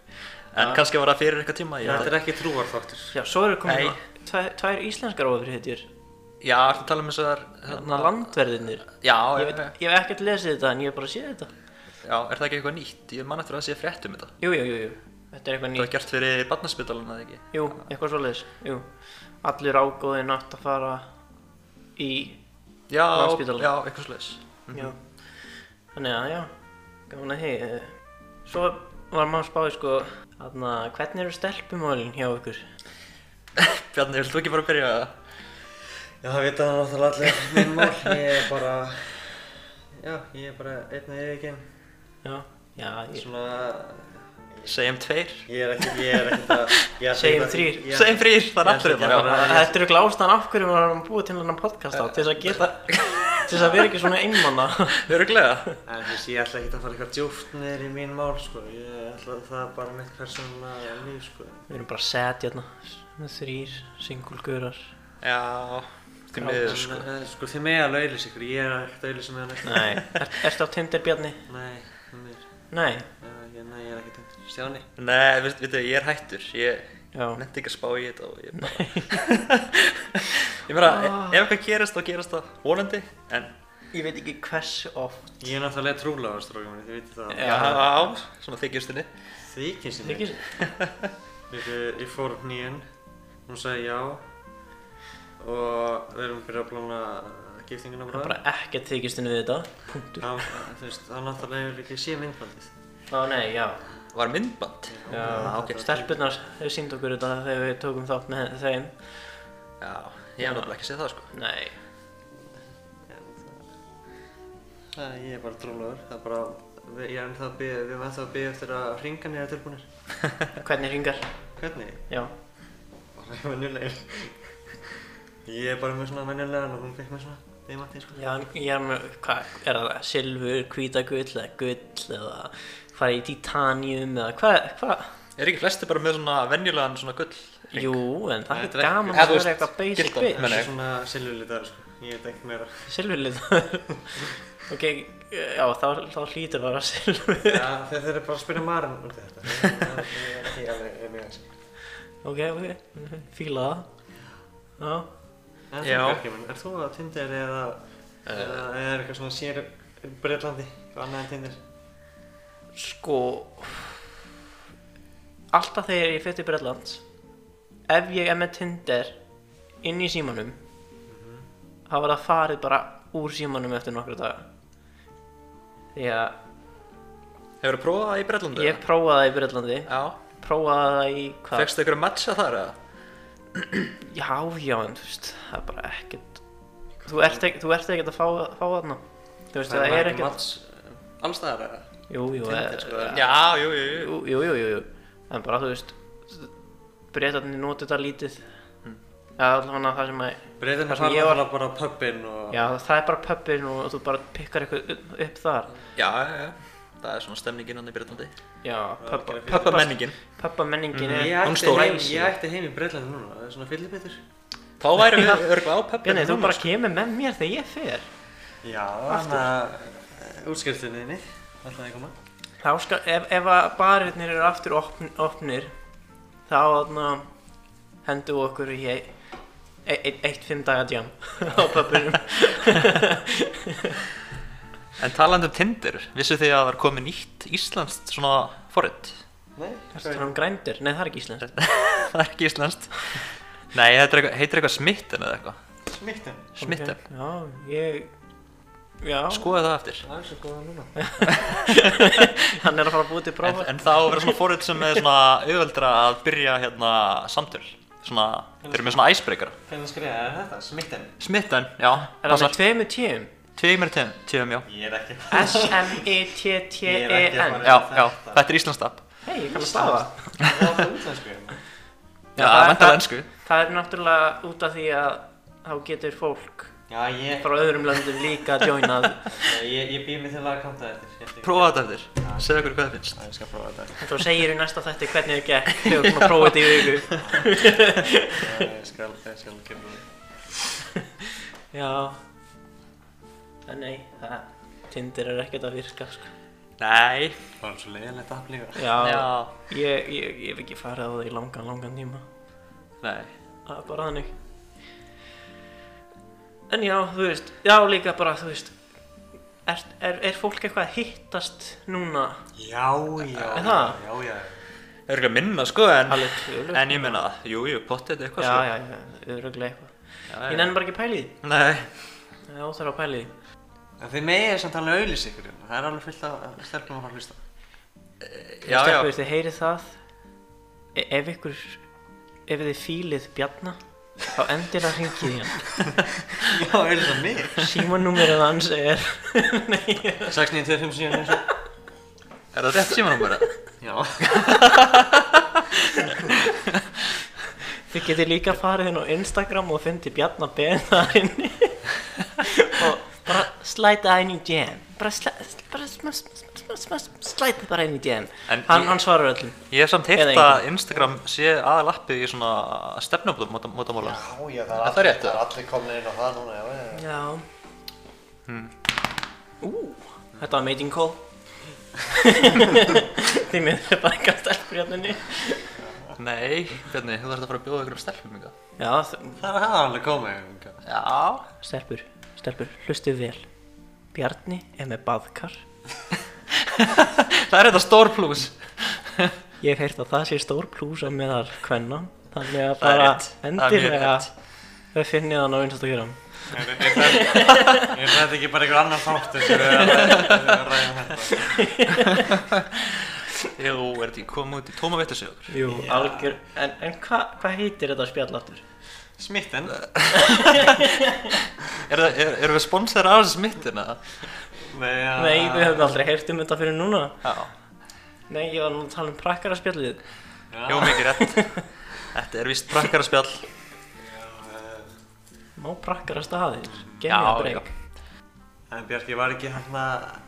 [SPEAKER 3] En kannski var það fyrir eitthvað tíma. Ég,
[SPEAKER 2] þetta er ekki trúarþáttur.
[SPEAKER 1] Já, svo eru komin
[SPEAKER 3] Nei.
[SPEAKER 1] svona tvær, tvær íslenskar ofurhetjur,
[SPEAKER 3] Já, ertu að tala um þessar...
[SPEAKER 1] hérna landverðinir.
[SPEAKER 3] Já,
[SPEAKER 1] Ég,
[SPEAKER 3] ég
[SPEAKER 1] veit, ég hef ekkert lesið þetta en ég hef bara séð þetta.
[SPEAKER 3] Já, er það ekki eitthvað nýtt? Ég man eftir að það sé frétt um þetta.
[SPEAKER 1] Jú, jú, jú, jú. Þetta er eitthvað
[SPEAKER 3] Það var
[SPEAKER 1] nýtt.
[SPEAKER 3] gert fyrir barnaspítaluna, eða ekki?
[SPEAKER 1] Jú, eitthvað svoleiðis. Jú. Allir ágóðin átt að fara í,
[SPEAKER 3] Já,
[SPEAKER 1] Landspítalann.
[SPEAKER 3] já, eitthvað slags.
[SPEAKER 1] já. Þannig að, já, gaman að hei. Svo var maður spáði, sko, hérna, hvernig eru stelpumálin hjá ykkur?
[SPEAKER 3] Bjarni, vilt þú ekki bara byrja að...
[SPEAKER 2] Já, það vita það náttúrulega allir minn mál. Ég er bara, já, ég er bara einn og yfirgeinn.
[SPEAKER 1] Já, já, ég...
[SPEAKER 2] Svona,
[SPEAKER 3] Segjum um tveir?
[SPEAKER 2] ég er ekki, ég er ekki að... ég ætla
[SPEAKER 1] Segjum
[SPEAKER 2] ekki að-
[SPEAKER 1] þrír.
[SPEAKER 2] ég-
[SPEAKER 3] Segjum þrír, það er
[SPEAKER 2] Ég ætla
[SPEAKER 3] allir hérna.
[SPEAKER 2] ekki að
[SPEAKER 3] það. já.
[SPEAKER 2] fara-
[SPEAKER 1] Þetta Eh, eru glástan af hverju maður er búið til hennan podcast á til þess að geta til þess að vera ekki svona einmanna
[SPEAKER 3] Örugglega.
[SPEAKER 2] En þú veist, ég ætla ekki að fara eitthvað djúft niður í mín mál, sko. Ég ætla það er bara mitt persónulega líf, sko.
[SPEAKER 1] Við erum bara set hérna með þrýr singulgurar
[SPEAKER 3] Já, því miður, sko.
[SPEAKER 2] En, eh, Sko, þið með alveg auðlis ykkur, ég er ekkert auðlis með hann eitthvað.
[SPEAKER 1] Nei er, Ertu á Tinder Bjarni?
[SPEAKER 2] Nei, það mér,
[SPEAKER 1] Nei
[SPEAKER 2] já, ég, nei, ég er ekkert auðlis. Stjáni.
[SPEAKER 3] Nei, veit, veit, ég er hættur, ég
[SPEAKER 1] Já.
[SPEAKER 3] nefndi ekki að spá í þetta og ég bara Ég meina, ef eitthvað gerist þá gerist það vonandi En
[SPEAKER 1] Ég veit ekki hversu oft
[SPEAKER 2] Ég er náttúrulega trúlega á strókum minni, þið vitið það.
[SPEAKER 1] Já.
[SPEAKER 3] já, á, svona þykjustinni
[SPEAKER 2] Þykir sinni.
[SPEAKER 1] Þykir
[SPEAKER 2] Ég, ég fór upp nýjan, hún sagði já og við erum byrjað að plana giftingina bara.
[SPEAKER 1] bara ekkert þykistinu við þetta Punktur
[SPEAKER 2] Hann, þú veist, hann náttúrulega hefur ekki séð myndbandið.
[SPEAKER 1] Ó nei, já
[SPEAKER 3] Var myndband
[SPEAKER 1] Já,
[SPEAKER 3] ok.
[SPEAKER 1] Ah, stelpurnar þau sínd okkur þetta þegar við tókum þátt með þeim
[SPEAKER 3] Já, ég hef náttúrulega ekki séð það sko
[SPEAKER 1] Nei
[SPEAKER 2] Það, ég er bara trúlegaður, það er bara, við, ég er ennþá að byrja, við erum ennþá að byrja eftir að hringan er tilbúinir.
[SPEAKER 1] Hvernig ringar?
[SPEAKER 2] Hvernig?
[SPEAKER 1] Já
[SPEAKER 2] Bara ég venjulegir. Ég er bara með svona venjulegan og hún fikk með svona dimantið sko.
[SPEAKER 1] Já, en ég er með, hvað, er það silfur, hvítagull eða gull eða fara í titanium eða hvað, hvað?
[SPEAKER 3] Er ekki flesti bara með svona venjulegan svona gull hring.
[SPEAKER 1] Jú, en það
[SPEAKER 2] Þetta
[SPEAKER 1] er
[SPEAKER 2] er ekki-
[SPEAKER 1] gaman
[SPEAKER 3] Eða,
[SPEAKER 1] að
[SPEAKER 3] þú
[SPEAKER 1] vera
[SPEAKER 3] veist,
[SPEAKER 1] eitthvað basic
[SPEAKER 3] gildan,
[SPEAKER 1] bitch.
[SPEAKER 3] menn-
[SPEAKER 2] Það
[SPEAKER 3] Nei.
[SPEAKER 2] er svona silfurlitaður sko, ég veit ekkert meira.
[SPEAKER 1] Silfurlitaður. ok, já, þá, þá hlýtur það að vera silfur.
[SPEAKER 2] Já, þeir þeir eru bara að spyrja Maren út í þetta. Það er ekki alveg mjög eins.
[SPEAKER 1] ok, ok, fíla það. Já, Eh.
[SPEAKER 2] En þú
[SPEAKER 3] Já.
[SPEAKER 2] Björki minn, er þú að Tinder eða, eða er eitthvað svona sér Breitlandi, eitthvað annað en Tinder?
[SPEAKER 1] sko, alltaf þegar ég fyrir til Bretlands, ef ég er með Tinder inn í símanum, þá var það farið bara úr símanum eftir nokkru daga. Því að
[SPEAKER 3] Hefur þú prófað það í Bretlandu?
[SPEAKER 1] ég prófaði það í Bretlandi,
[SPEAKER 3] Já.
[SPEAKER 1] prófaði það í hvað?
[SPEAKER 3] Fegstu ykkur að matcha þar eða?
[SPEAKER 1] Já, já, en þú veist, það er bara ekkert Þú ert ekkert, þú ert ekkert að fá, fá þarna Þú veist, það, er ekkert
[SPEAKER 2] Mats, allstaðar eða?
[SPEAKER 1] Jú, jú, eh,
[SPEAKER 2] Tinder, sko,
[SPEAKER 1] eh,
[SPEAKER 3] Já, jú, jú, jú.
[SPEAKER 1] jú, jú, jú, jú, jú En bara, þú veist Breitarnir notið þetta lítið Mm. Já, allavega það sem að
[SPEAKER 2] Breitlandi
[SPEAKER 1] Þar sem
[SPEAKER 2] fara
[SPEAKER 1] ég var-
[SPEAKER 2] var... bara á pubin og...
[SPEAKER 1] Já, það er bara pöppin og þú bara pikkar eitthvað upp- upp þar
[SPEAKER 3] Já, já, já. Það er svona stemningin hann í Breitlandi.
[SPEAKER 1] Já, Mhm. pöppa
[SPEAKER 3] Pöppa menningin.
[SPEAKER 1] Pöppa menningin
[SPEAKER 2] Mm, Ég
[SPEAKER 1] er
[SPEAKER 3] Hún
[SPEAKER 2] ætti,
[SPEAKER 3] stór.
[SPEAKER 2] heim, ég ætti heim í Breitlandi núna, það er svona fyllibittur.
[SPEAKER 3] Þá væri við örgulega á pöppinu.
[SPEAKER 1] Bjarni, þú bara kemur með mér þegar ég fer
[SPEAKER 2] Já, þannig að eh, útskriftinni, alltaf að koma.
[SPEAKER 1] Þá skal, ef, ef að barirnir eru aftur opn, opnir þá þarna hendum við okkur í e, e, eitt fimm daga jam á pöpunum
[SPEAKER 3] En talandi um Tinder, vissu þið að það var komið nýtt íslenskt svona forrið?
[SPEAKER 2] Nei,
[SPEAKER 1] Það er um grændur, nei það er ekki íslenskt
[SPEAKER 3] það er ekki íslenskt. Nei, þetta er eitthvað- heitir eitthvað smitten eða eitthvað.
[SPEAKER 2] Smitten.
[SPEAKER 3] Smitten.
[SPEAKER 1] Ok, Já, ég Já,
[SPEAKER 3] Skoðu það eftir.
[SPEAKER 2] Það er svo góða núna.
[SPEAKER 1] hann er að fara að búið til
[SPEAKER 3] En,
[SPEAKER 1] prófa
[SPEAKER 3] en það á að vera svona forrið sem er svona auðveldra að byrja hérna samtöl. Svona, þeir eru með svona icebreaker.
[SPEAKER 2] Hvernig skrifaði það þetta? Smitten.
[SPEAKER 3] Smitten, já.
[SPEAKER 1] Er það
[SPEAKER 3] passar.
[SPEAKER 1] með tveimur tíum?
[SPEAKER 3] Tveimur tíum, tíum, já.
[SPEAKER 2] Ég er
[SPEAKER 1] E
[SPEAKER 2] ekki. Ég er ekki að
[SPEAKER 1] S-M-E-T-T-E-N
[SPEAKER 2] fara-
[SPEAKER 3] Já, já, þetta er íslenskt app.
[SPEAKER 1] Hei, ég kann að stafa
[SPEAKER 2] Það var það útlensku.
[SPEAKER 3] Já,
[SPEAKER 1] það
[SPEAKER 3] það
[SPEAKER 1] er-
[SPEAKER 3] er vantar ennsku.
[SPEAKER 1] Það er náttúrulega út af því að þá getur fólk
[SPEAKER 2] Já, ég,
[SPEAKER 1] frá öðrum löndum líka að joinað
[SPEAKER 2] ég, ég býð mig til að kanta eftir. Ég ætla ekki-
[SPEAKER 3] Prófa þetta eftir, segja okkur hvað það finnst.
[SPEAKER 2] Já, Ég skal prófa þetta.
[SPEAKER 1] Svo segir í næsta þætti hvernig það gekk þegar við erum að prófa þetta í viku
[SPEAKER 2] Já, Ég skal, ég skal gera það.
[SPEAKER 1] Já En nei, það Tinder er ekkert að virka sko.
[SPEAKER 3] Nei,
[SPEAKER 2] Það var svo leiðilegt að líka.
[SPEAKER 1] Já,
[SPEAKER 3] já,
[SPEAKER 1] Ég, ég, ég hef ekki farið á það í langan, langan tíma
[SPEAKER 3] nei.
[SPEAKER 1] Það er bara þannig En já, þú veist Já, líka bara, þú veist Er, er, er fólk eitthvað að hittast núna?
[SPEAKER 2] Já, já.
[SPEAKER 1] Er það?
[SPEAKER 2] Já, já.
[SPEAKER 3] Örgulega minna sko, en,
[SPEAKER 1] Alveg tölur
[SPEAKER 3] en ég minna það. Jú, jú, pottið eitthvað
[SPEAKER 1] Já,
[SPEAKER 3] sko.
[SPEAKER 1] já, já, öruglega eitthvað
[SPEAKER 3] já.
[SPEAKER 1] Ég nenni bara ekki pæli í því
[SPEAKER 3] Nei,
[SPEAKER 1] Það er óþar að pæli í því
[SPEAKER 2] En þið megið samt alveg auðlýs ykkur hérna. Það er alveg fullt af stelpum að fara að hlusta.
[SPEAKER 3] já, já,
[SPEAKER 1] Stelpur, Þið heyrið það E- Ef ykkur Ef þið fílið bjarna Þá endir að hringið í hann
[SPEAKER 2] Já, auðlýsa mig.
[SPEAKER 1] Símanúmerið hans er
[SPEAKER 2] 6925 eins og.
[SPEAKER 3] er það rétt símanúmer eða?
[SPEAKER 2] Já.
[SPEAKER 1] Þið getur líka farið inn á Instagram og fundið Bjarna Ben þar inni og bara slæta inn í jam bara, slæ, bara sm, sm, sm, sm, sm, sm, slæta bara inn í jam
[SPEAKER 3] En
[SPEAKER 1] hann,
[SPEAKER 3] ég-
[SPEAKER 1] hann svarar öllum
[SPEAKER 3] Ég hef samt
[SPEAKER 1] Eða
[SPEAKER 3] heyrt
[SPEAKER 1] engum.
[SPEAKER 3] að Instagram sé aðalappið í svona stefnumótamála.
[SPEAKER 2] já, Ah, það
[SPEAKER 3] Er það rétt, eða?
[SPEAKER 2] allir komin inn á það núna, já, já, já.
[SPEAKER 1] Já
[SPEAKER 3] Hmm.
[SPEAKER 1] Ú, þetta var mating call Þið miður bara ekki að stelpur hérna inni
[SPEAKER 3] Nei, Bjarni, þú þarfst að fara að bjóða ykkur um stelpum ykkur.
[SPEAKER 1] Já, þ-
[SPEAKER 2] Það er alveg komið, já.
[SPEAKER 3] Já.
[SPEAKER 1] stelpur, stelpur, hlustið vel Bjarni er með baðkar
[SPEAKER 3] Það er þetta stór plus.
[SPEAKER 1] Ég hef heyrt að það sé stór plúsa meðal kvenna Þannig að
[SPEAKER 3] Það
[SPEAKER 1] bara
[SPEAKER 3] er rétt. Það er mjög
[SPEAKER 1] endilega
[SPEAKER 3] rétt.
[SPEAKER 1] Þau finnið hann á Instagram
[SPEAKER 2] Er er þetta ekki bara einhver annar þáttur sem við erum að ræða um þetta?
[SPEAKER 3] Jú, er þetta ekki komið út í tóma vittisögur?
[SPEAKER 1] Jú, algjör En, en hvað hva heitir þetta spjall aftur?
[SPEAKER 2] Smitten?
[SPEAKER 3] Er það, er, erum við sponsor af þessu hérna? smittin eða?
[SPEAKER 2] Nei, ja.
[SPEAKER 1] Nei, við höfum aldrei heyrt um þetta fyrir núna
[SPEAKER 3] Já.
[SPEAKER 1] Nei, ég var nú að tala um prakkaraspjallið
[SPEAKER 3] Jú, mikið rétt. Þetta er víst prakkararspjall.
[SPEAKER 1] Má prakkara staðir Gemi
[SPEAKER 3] Já,
[SPEAKER 1] að breyk
[SPEAKER 2] En Björk, ég var ekki hann að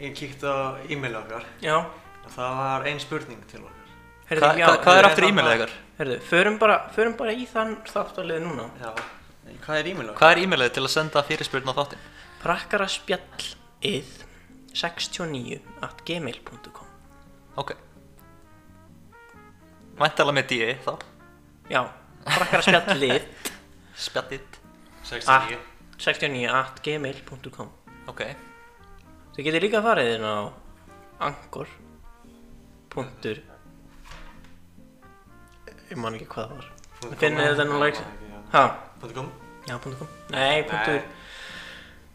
[SPEAKER 2] ég kíkti á e-mail okkar
[SPEAKER 1] Já,
[SPEAKER 2] og það var ein spurning til okkar
[SPEAKER 1] Heyrðu,
[SPEAKER 3] Hva,
[SPEAKER 1] já,
[SPEAKER 3] hva, hvað er
[SPEAKER 2] er
[SPEAKER 3] aftur
[SPEAKER 2] það
[SPEAKER 3] e-mailið
[SPEAKER 2] bara-
[SPEAKER 3] ykkar?
[SPEAKER 1] Herðu, förum bara, förum bara í þann þáttalið núna.
[SPEAKER 2] Já, hvað er e-mail á?
[SPEAKER 3] Hvað er e-mailið til að senda fyrirspyrna á þáttinn?
[SPEAKER 1] Prakkaraspjallið 69 at gmail.com
[SPEAKER 3] Ok Væntalega með DE þá
[SPEAKER 1] Já, prakkaraspjallið
[SPEAKER 3] Spjallið
[SPEAKER 2] 69
[SPEAKER 1] at 69 at gmail.com
[SPEAKER 3] Ok
[SPEAKER 1] Þið getur líka farið inn á angor punktur Ég man ekki hvað það var Það finnir þetta nú leik Ha,
[SPEAKER 2] Punkt Ah. .com
[SPEAKER 1] já, punktur kom Nei, punktur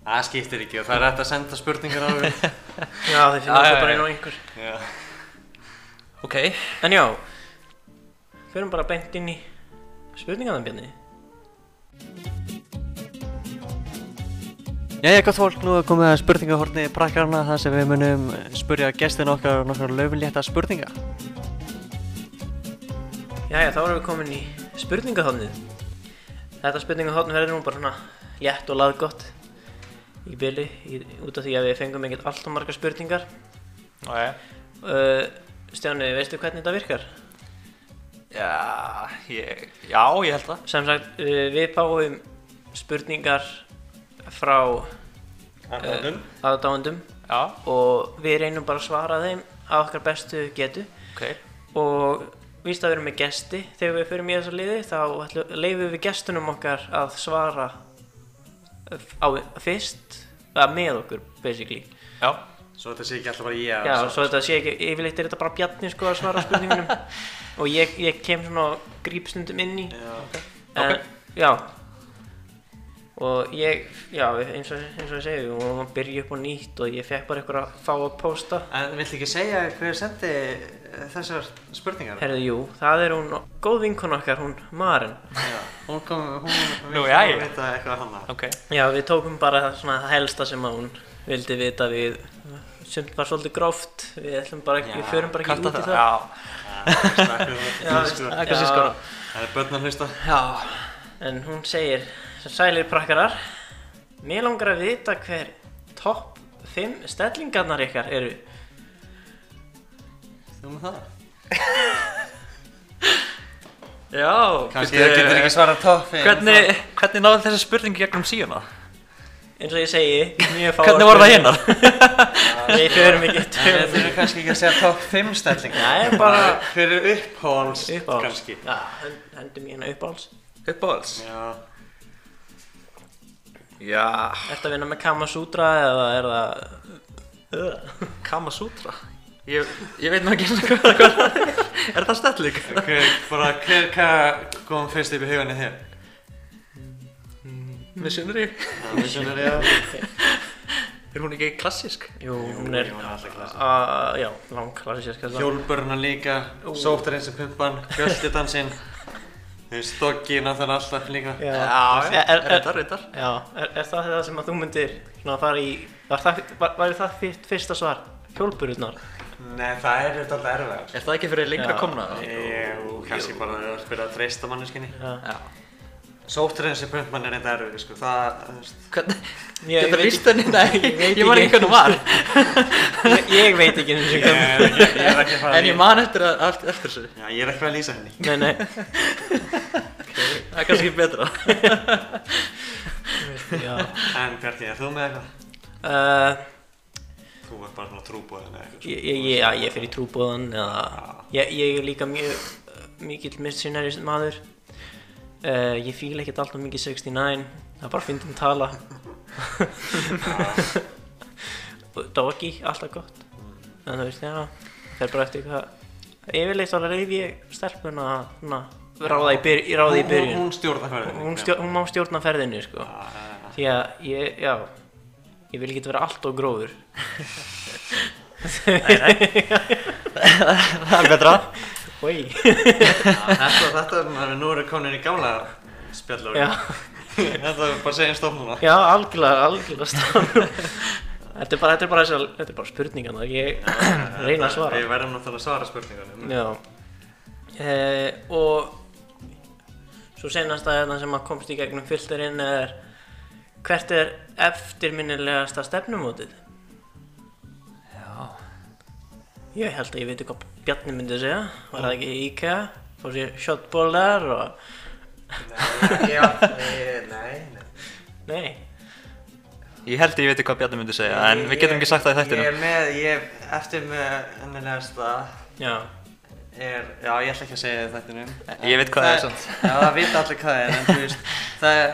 [SPEAKER 2] Það skiptir ekki og það er hægt að senda spurningar á við
[SPEAKER 1] Já, þið finnir
[SPEAKER 3] Já, já,
[SPEAKER 1] þetta bara
[SPEAKER 3] já.
[SPEAKER 1] inn á einhver
[SPEAKER 2] Já
[SPEAKER 3] Ok
[SPEAKER 1] En já, förum bara beint inn í spurningarnar bjarni
[SPEAKER 2] Jæja, gott fólk, nú er komið að spurningahorni prakkarna þar sem við munum spurja gestin okkar nokkar löfulétta spurninga.
[SPEAKER 1] Jæja, þá erum við komin í spurningahotnið. Þetta spurningahotn verður nú bara svona létt og laggott í byli í, út af því að við fengum ekkert allt og margar spurningar.
[SPEAKER 3] Ok
[SPEAKER 1] Uh, Stjáni, veistu hvernig þetta virkar?
[SPEAKER 3] Já, ég, já, ég held það
[SPEAKER 1] Sem sagt, uh, við fáum spurningar frá eh,
[SPEAKER 2] Arnóðum.
[SPEAKER 1] aðdáendum
[SPEAKER 3] Eh, Já,
[SPEAKER 1] og við reynum bara að svara þeim að okkar bestu getu
[SPEAKER 3] ok
[SPEAKER 1] og víst að við erum með gesti þegar við förum í þessu liði þá ætlum- leifum við gestunum okkar að svara f- á, fyrst að með okkur basically
[SPEAKER 3] Já,
[SPEAKER 2] Svo þetta sé ekki alltaf bara ég að
[SPEAKER 1] já, svo þetta sé ekki, yfirleitt er þetta bara bjarni sko að svara spurningunum og ég, ég kem svona og gríp stundum inn í
[SPEAKER 2] Já,
[SPEAKER 1] en,
[SPEAKER 3] ok.
[SPEAKER 1] Eh, já og ég, já, eins og, eins og ég segi við vorum að byrja upp á nýtt og ég fekk bara eitthvað að fá að posta
[SPEAKER 2] En vill ekki segja hver sendi eh, þessar spurningar?
[SPEAKER 1] herðu, jú, það er hún góð vinkun okkar, hún Maren
[SPEAKER 2] Já, hún kom, hún
[SPEAKER 3] Nú,
[SPEAKER 2] vill
[SPEAKER 3] jæja.
[SPEAKER 2] vita eitthvað hann að.
[SPEAKER 3] ok
[SPEAKER 1] Já, við tókum bara það svona það helsta sem að hún vildi vita við sumt var svolítið gróft við ætlum bara ekki,
[SPEAKER 2] Já,
[SPEAKER 1] við förum bara ekki
[SPEAKER 3] Kasta
[SPEAKER 1] út í
[SPEAKER 3] það
[SPEAKER 1] það
[SPEAKER 3] Já,
[SPEAKER 1] Já,
[SPEAKER 2] Það
[SPEAKER 1] veist,
[SPEAKER 2] sko.
[SPEAKER 3] er kannski
[SPEAKER 1] já.
[SPEAKER 3] skora.
[SPEAKER 2] Það er börn að hlusta.
[SPEAKER 3] já
[SPEAKER 1] En hún segir, sælir prakkarar Mér langar að vita hver topp 5 stellingarnar ykkar eru
[SPEAKER 2] Þú með það?
[SPEAKER 3] Já,
[SPEAKER 2] Kanski það getur ekki svara toffi.
[SPEAKER 3] Hvernig, hvernig náðu þessi spurning gegnum síðuna?
[SPEAKER 1] eins og ég segi, mjög fáar
[SPEAKER 3] Hvernig voru það
[SPEAKER 1] spurningar.
[SPEAKER 3] hinnar?
[SPEAKER 1] Við förum ekki
[SPEAKER 2] Við
[SPEAKER 1] tölum
[SPEAKER 2] þurfum kannski ekki að segja topp 5 stellingar.
[SPEAKER 1] Nei, bara
[SPEAKER 2] Hver er uppháls?
[SPEAKER 1] uppáhalds
[SPEAKER 2] Kannski.
[SPEAKER 1] Já, hend- hendum í hérna uppáhalds
[SPEAKER 3] Uppáhalds
[SPEAKER 2] Já.
[SPEAKER 3] Já,
[SPEAKER 1] Ertu að vinna með Kamasutra eða er það Ugh.
[SPEAKER 3] Kama Sutra Ég, ég veit nú ekki einu sinni hvað hvað það er Er það stelling?
[SPEAKER 2] Hver, bara hver, hvað kom fyrst upp í hugunni þér?
[SPEAKER 3] Missionary
[SPEAKER 2] Það er svona reyða.
[SPEAKER 3] Er hún ekki klassísk?
[SPEAKER 1] Jú, hún
[SPEAKER 2] Jú,
[SPEAKER 1] er
[SPEAKER 2] hún er alltaf klassísk.
[SPEAKER 1] Ah, Já, langklassísk er það.
[SPEAKER 2] Hjólbörna líka, sóttarinn sem pumpan, fjöldidansinn. Þú veist, doggin á þann alltaf líka.
[SPEAKER 1] Já,
[SPEAKER 3] Já,
[SPEAKER 1] Er- er-
[SPEAKER 3] reyndar, reyndar
[SPEAKER 1] Já, er, er það það sem að þú myndir svona að fara í, var það, var, var það þitt fyrsta svar? Hjólbururnar?
[SPEAKER 2] Nei, það er auðvitað erfiðar.
[SPEAKER 3] Er það ekki fyrir lengra
[SPEAKER 1] Já.
[SPEAKER 3] komna?
[SPEAKER 2] Jú, kannski bara að spila að treysta manneskinni.
[SPEAKER 3] Já
[SPEAKER 2] Sóttarinn sem pumpan er eitthvað erfið, sko. Það, þú veist,
[SPEAKER 3] Hvernig,
[SPEAKER 1] Ég- ég
[SPEAKER 3] getur
[SPEAKER 1] veit-
[SPEAKER 3] líst henni? Nei,
[SPEAKER 1] ég veit
[SPEAKER 3] ég, man
[SPEAKER 1] ekki.
[SPEAKER 3] ekki hvernig hún var
[SPEAKER 1] Ég, ég veit ekki eins og
[SPEAKER 2] ég
[SPEAKER 1] hvað.
[SPEAKER 2] er ekki, ég er ekki að fara að
[SPEAKER 3] En ég
[SPEAKER 2] lýsa.
[SPEAKER 3] man eftir að, allt eftir þessu
[SPEAKER 2] Já, ég er ekki að fara að lýsa henni.
[SPEAKER 1] Nei, nei.
[SPEAKER 3] Það er kannski betra
[SPEAKER 1] Já.
[SPEAKER 2] En Bjarki, er þú með eitthvað?
[SPEAKER 1] Uh,
[SPEAKER 2] Þú ert bara svona trúbóðin eða eitthvað. sko.
[SPEAKER 1] ég, ég, ég, já, ég fer í trúbóðan eða, ég, ég er líka mjög, uh, mikill missionary maður. Uh, ég fíla ekkert alltaf mikið 69, það er bara fyndum tala. Doggy, alltaf gott. En þú veist, já, það er bara eftir hvað. Yfirleitt þá reyf ég stelpuna að svona, ráða í, byr, ráða í
[SPEAKER 2] Hún-
[SPEAKER 1] byrjun.
[SPEAKER 2] Hún stjórnar hverðinni.
[SPEAKER 1] hún, stjórn, hún má stjórna ferðinni sko því að ég, já ég vil ekki vera allt og gróður
[SPEAKER 3] Það er betra
[SPEAKER 1] Oi.
[SPEAKER 2] Þetta, þetta er maður, nú erum við komin í gamla spjallur.
[SPEAKER 1] já,
[SPEAKER 2] Þetta er bara að segja stofnuna.
[SPEAKER 1] já, algjörlega algjörlega stafn þetta er bara, þetta er bara, þessar- þetta er bara spurningan ég reyna að svara
[SPEAKER 2] Við verðum náttúrulega að svara spurningunum.
[SPEAKER 1] já eh, og svo senast að þetta sem að komst í gegnum filterinn er hvert er eftirminnilegasta stefnumótið
[SPEAKER 3] Já
[SPEAKER 1] Ég held að ég veit hvað Bjarni myndi segja. Var það ekki í IKEA? Fór sér shotbollar og...
[SPEAKER 2] Nei, já, nei, nei, nei.
[SPEAKER 1] Nei.
[SPEAKER 3] Ég held að ég veit hvað Bjarni myndi segja, en við getum ekki sagt það í
[SPEAKER 2] Ég
[SPEAKER 3] þættinu.
[SPEAKER 2] er með, ég er eftir með ennilegasta
[SPEAKER 1] Já.
[SPEAKER 2] er, já ég ætla ekki að segja það í þættinum.
[SPEAKER 3] Ég veit hvað það er samt.
[SPEAKER 2] Já það vita allir hvað það er, en þú veist, það er,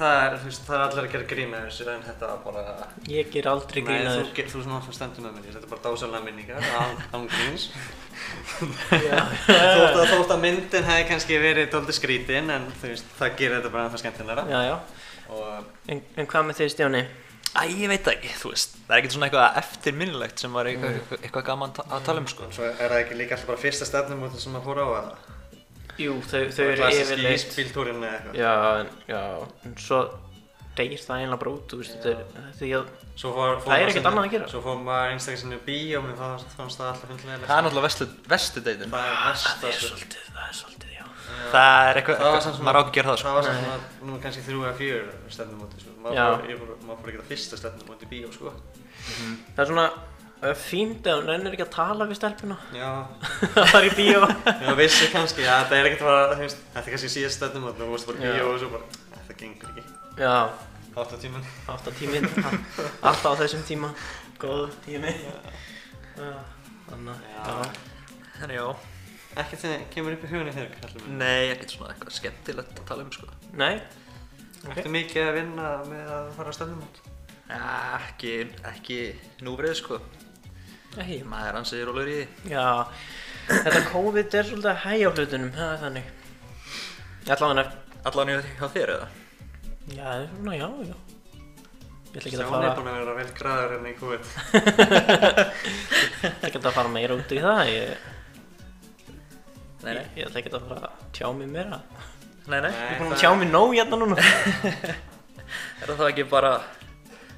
[SPEAKER 2] það er, þú veist, það er allir að gera grína þessu en þetta var bara...
[SPEAKER 1] Ég ger aldrei
[SPEAKER 2] Nei, þú,
[SPEAKER 1] grínaður.
[SPEAKER 2] ge- þú svona alltaf stendur með mér, þetta er bara dásalega minningar, án, án gríns.
[SPEAKER 1] Já.
[SPEAKER 2] Þú veist að, þótt að myndin hefði kannski verið doldið skrítin, en þú veist, það gerir þetta bara ennþá skemmtilegra.
[SPEAKER 1] Já, já.
[SPEAKER 2] Og,
[SPEAKER 1] En, en hvað með þig, Stjáni?
[SPEAKER 3] Æ, ég veit það ekki, þú veist. Það er ekkert svona eitthvað eftirminnilegt sem var eitthvað, eitthvað gaman ta- að tala um, sko.
[SPEAKER 2] og svo er það ekki líka alltaf bara fyrsta stefnum út sem maður fór á að
[SPEAKER 1] Jú, þau, þau eru
[SPEAKER 2] Klassíski
[SPEAKER 1] yfirleitt.
[SPEAKER 2] ísbíltúrin eða eitthvað.
[SPEAKER 1] Já, en, já. En svo deyr það einlega bara út, þú veist, þetta er, þetta er,
[SPEAKER 2] Svo fór, fór
[SPEAKER 1] Það er
[SPEAKER 2] maður
[SPEAKER 1] ekkert
[SPEAKER 2] sinni-
[SPEAKER 1] annað að gera.
[SPEAKER 2] Svo fór maður einstaklega sinni í bíó, mér fannst fannst það alltaf fyndlega.
[SPEAKER 3] Það er náttúrulega vestudeitin.
[SPEAKER 2] Það
[SPEAKER 1] Ah,
[SPEAKER 2] er
[SPEAKER 1] það
[SPEAKER 2] versta,
[SPEAKER 1] er
[SPEAKER 2] sko.
[SPEAKER 1] svolítið, það er svolítið, já.
[SPEAKER 3] Það er eitthvað,
[SPEAKER 2] Það var samt
[SPEAKER 3] eitthvað
[SPEAKER 2] svona-
[SPEAKER 3] maður á ekki að gera það, sko.
[SPEAKER 2] Það var svona, nú kannski þrjú eða fjör stefnum út, sko. Maður
[SPEAKER 1] Já.
[SPEAKER 2] fór- ég fór- maður fór ekki það fyrsta stefnum út í bíó, sko.
[SPEAKER 1] Það er svona það er fínt að hún reynir ekki að tala við stelpuna.
[SPEAKER 2] Já,
[SPEAKER 1] Það var í bíó.
[SPEAKER 2] ég vissi kannski að þetta er ekkert bara, þú veist, þetta er kannski síðast stefnum og þú veist bara í
[SPEAKER 1] Já.
[SPEAKER 2] bíó og svo bara, þetta gengur ekki.
[SPEAKER 1] Já,
[SPEAKER 2] Átta tíman.
[SPEAKER 1] átta tíminn. Alltaf á þessum tíma. Góð tími. Já, Þannig,
[SPEAKER 2] Já.
[SPEAKER 1] já.
[SPEAKER 3] Þannig já,
[SPEAKER 2] Ekkert sem kemur upp í hugunni þegar, kallum við.
[SPEAKER 3] nei, ekkert svona eitthvað skemmtilegt að tala um, sko.
[SPEAKER 1] Nei,
[SPEAKER 2] Ertu mikið að vinna með að fara á stefnum út?
[SPEAKER 3] Ja, Ekki, ekki núverið, sko.
[SPEAKER 1] ekki.
[SPEAKER 3] Maður er ansið rólegur í því.
[SPEAKER 1] Já, þetta COVID er svolítið að hægja á hlutunum, það er þannig. Allavega,
[SPEAKER 3] Allan í hjá þér, eða?
[SPEAKER 1] já, það er svona, já, já. Ég ætla ekki að
[SPEAKER 2] Stjáni
[SPEAKER 1] fara,
[SPEAKER 2] er búin að vera vel graður enn í COVID.
[SPEAKER 1] ætla ekki að fara meira út í það, ég,
[SPEAKER 3] Nei,
[SPEAKER 1] ég,
[SPEAKER 3] nei.
[SPEAKER 1] ég ætla ekki að fara að tjá mig meira.
[SPEAKER 3] Nei, nei.
[SPEAKER 1] Ég er búin að tjá mig nóg hérna núna.
[SPEAKER 3] Er það þá ekki bara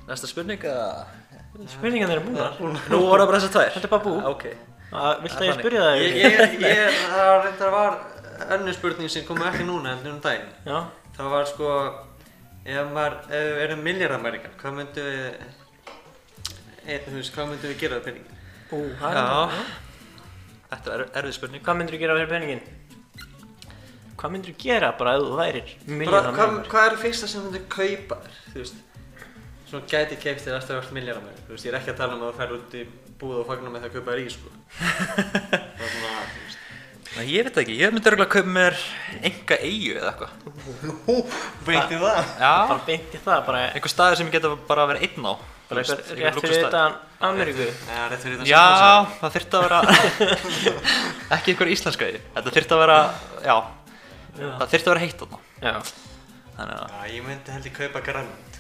[SPEAKER 3] næsta spurning eða?
[SPEAKER 1] Spurningan eru búin.
[SPEAKER 3] Nú voru það bara þessar tvær.
[SPEAKER 1] Þetta er bara bú.
[SPEAKER 3] Ah, Ok.
[SPEAKER 1] Vilt
[SPEAKER 3] Það
[SPEAKER 1] að
[SPEAKER 3] er
[SPEAKER 1] ég
[SPEAKER 3] þannig.
[SPEAKER 1] spyrja það?
[SPEAKER 2] Ég, ég, ég, það var reyndar var önnur spurning sem kom ekki núna heldur um daginn.
[SPEAKER 1] Já,
[SPEAKER 2] Það var sko, ef maður, ef við erum miljardamæringar, hvað myndum við, e, þú veist, hvað myndum við gera á peningin?
[SPEAKER 1] ú, það er
[SPEAKER 3] Já. Þetta er erfið spurning.
[SPEAKER 1] Hvað myndir þú gera fyrir peningin? Hvað myndir þú gera bara ef þú værir
[SPEAKER 2] Bara, hvað,
[SPEAKER 1] miljónamæður?
[SPEAKER 2] hvað er það fyrsta sem þú myndir kaupa þér, þú veist? Svona gæti keipt þér eftir að vera miljardamæringar, þú veist, ég er ekki að tala um að þú fer út í búð og fagnar með það að kaupa þér í, sko. það er svona, þú veist.
[SPEAKER 3] Nei, ég veit það ekki. Ég myndi örgulega að kaupa mér enga eigu eða eitthvað.
[SPEAKER 2] Hú, veitir það?
[SPEAKER 1] Bara
[SPEAKER 3] Já.
[SPEAKER 1] beint í það, bara,
[SPEAKER 3] Einhver staður sem ég geta bara að vera einn á.
[SPEAKER 1] bara
[SPEAKER 3] Þú veist,
[SPEAKER 1] eitthvað rétt
[SPEAKER 3] lúxus
[SPEAKER 1] fyrir
[SPEAKER 3] staður.
[SPEAKER 1] þetta Ameríku.
[SPEAKER 2] Já, rétt fyrir þetta hérna
[SPEAKER 3] Já, það þurfti að vera, ekki einhver íslenska eigu. Þetta þurfti að vera, já, það þurfti að vera heitt þarna.
[SPEAKER 1] Já.
[SPEAKER 3] Þannig að
[SPEAKER 2] Já, ég myndi held ég kaupa grand.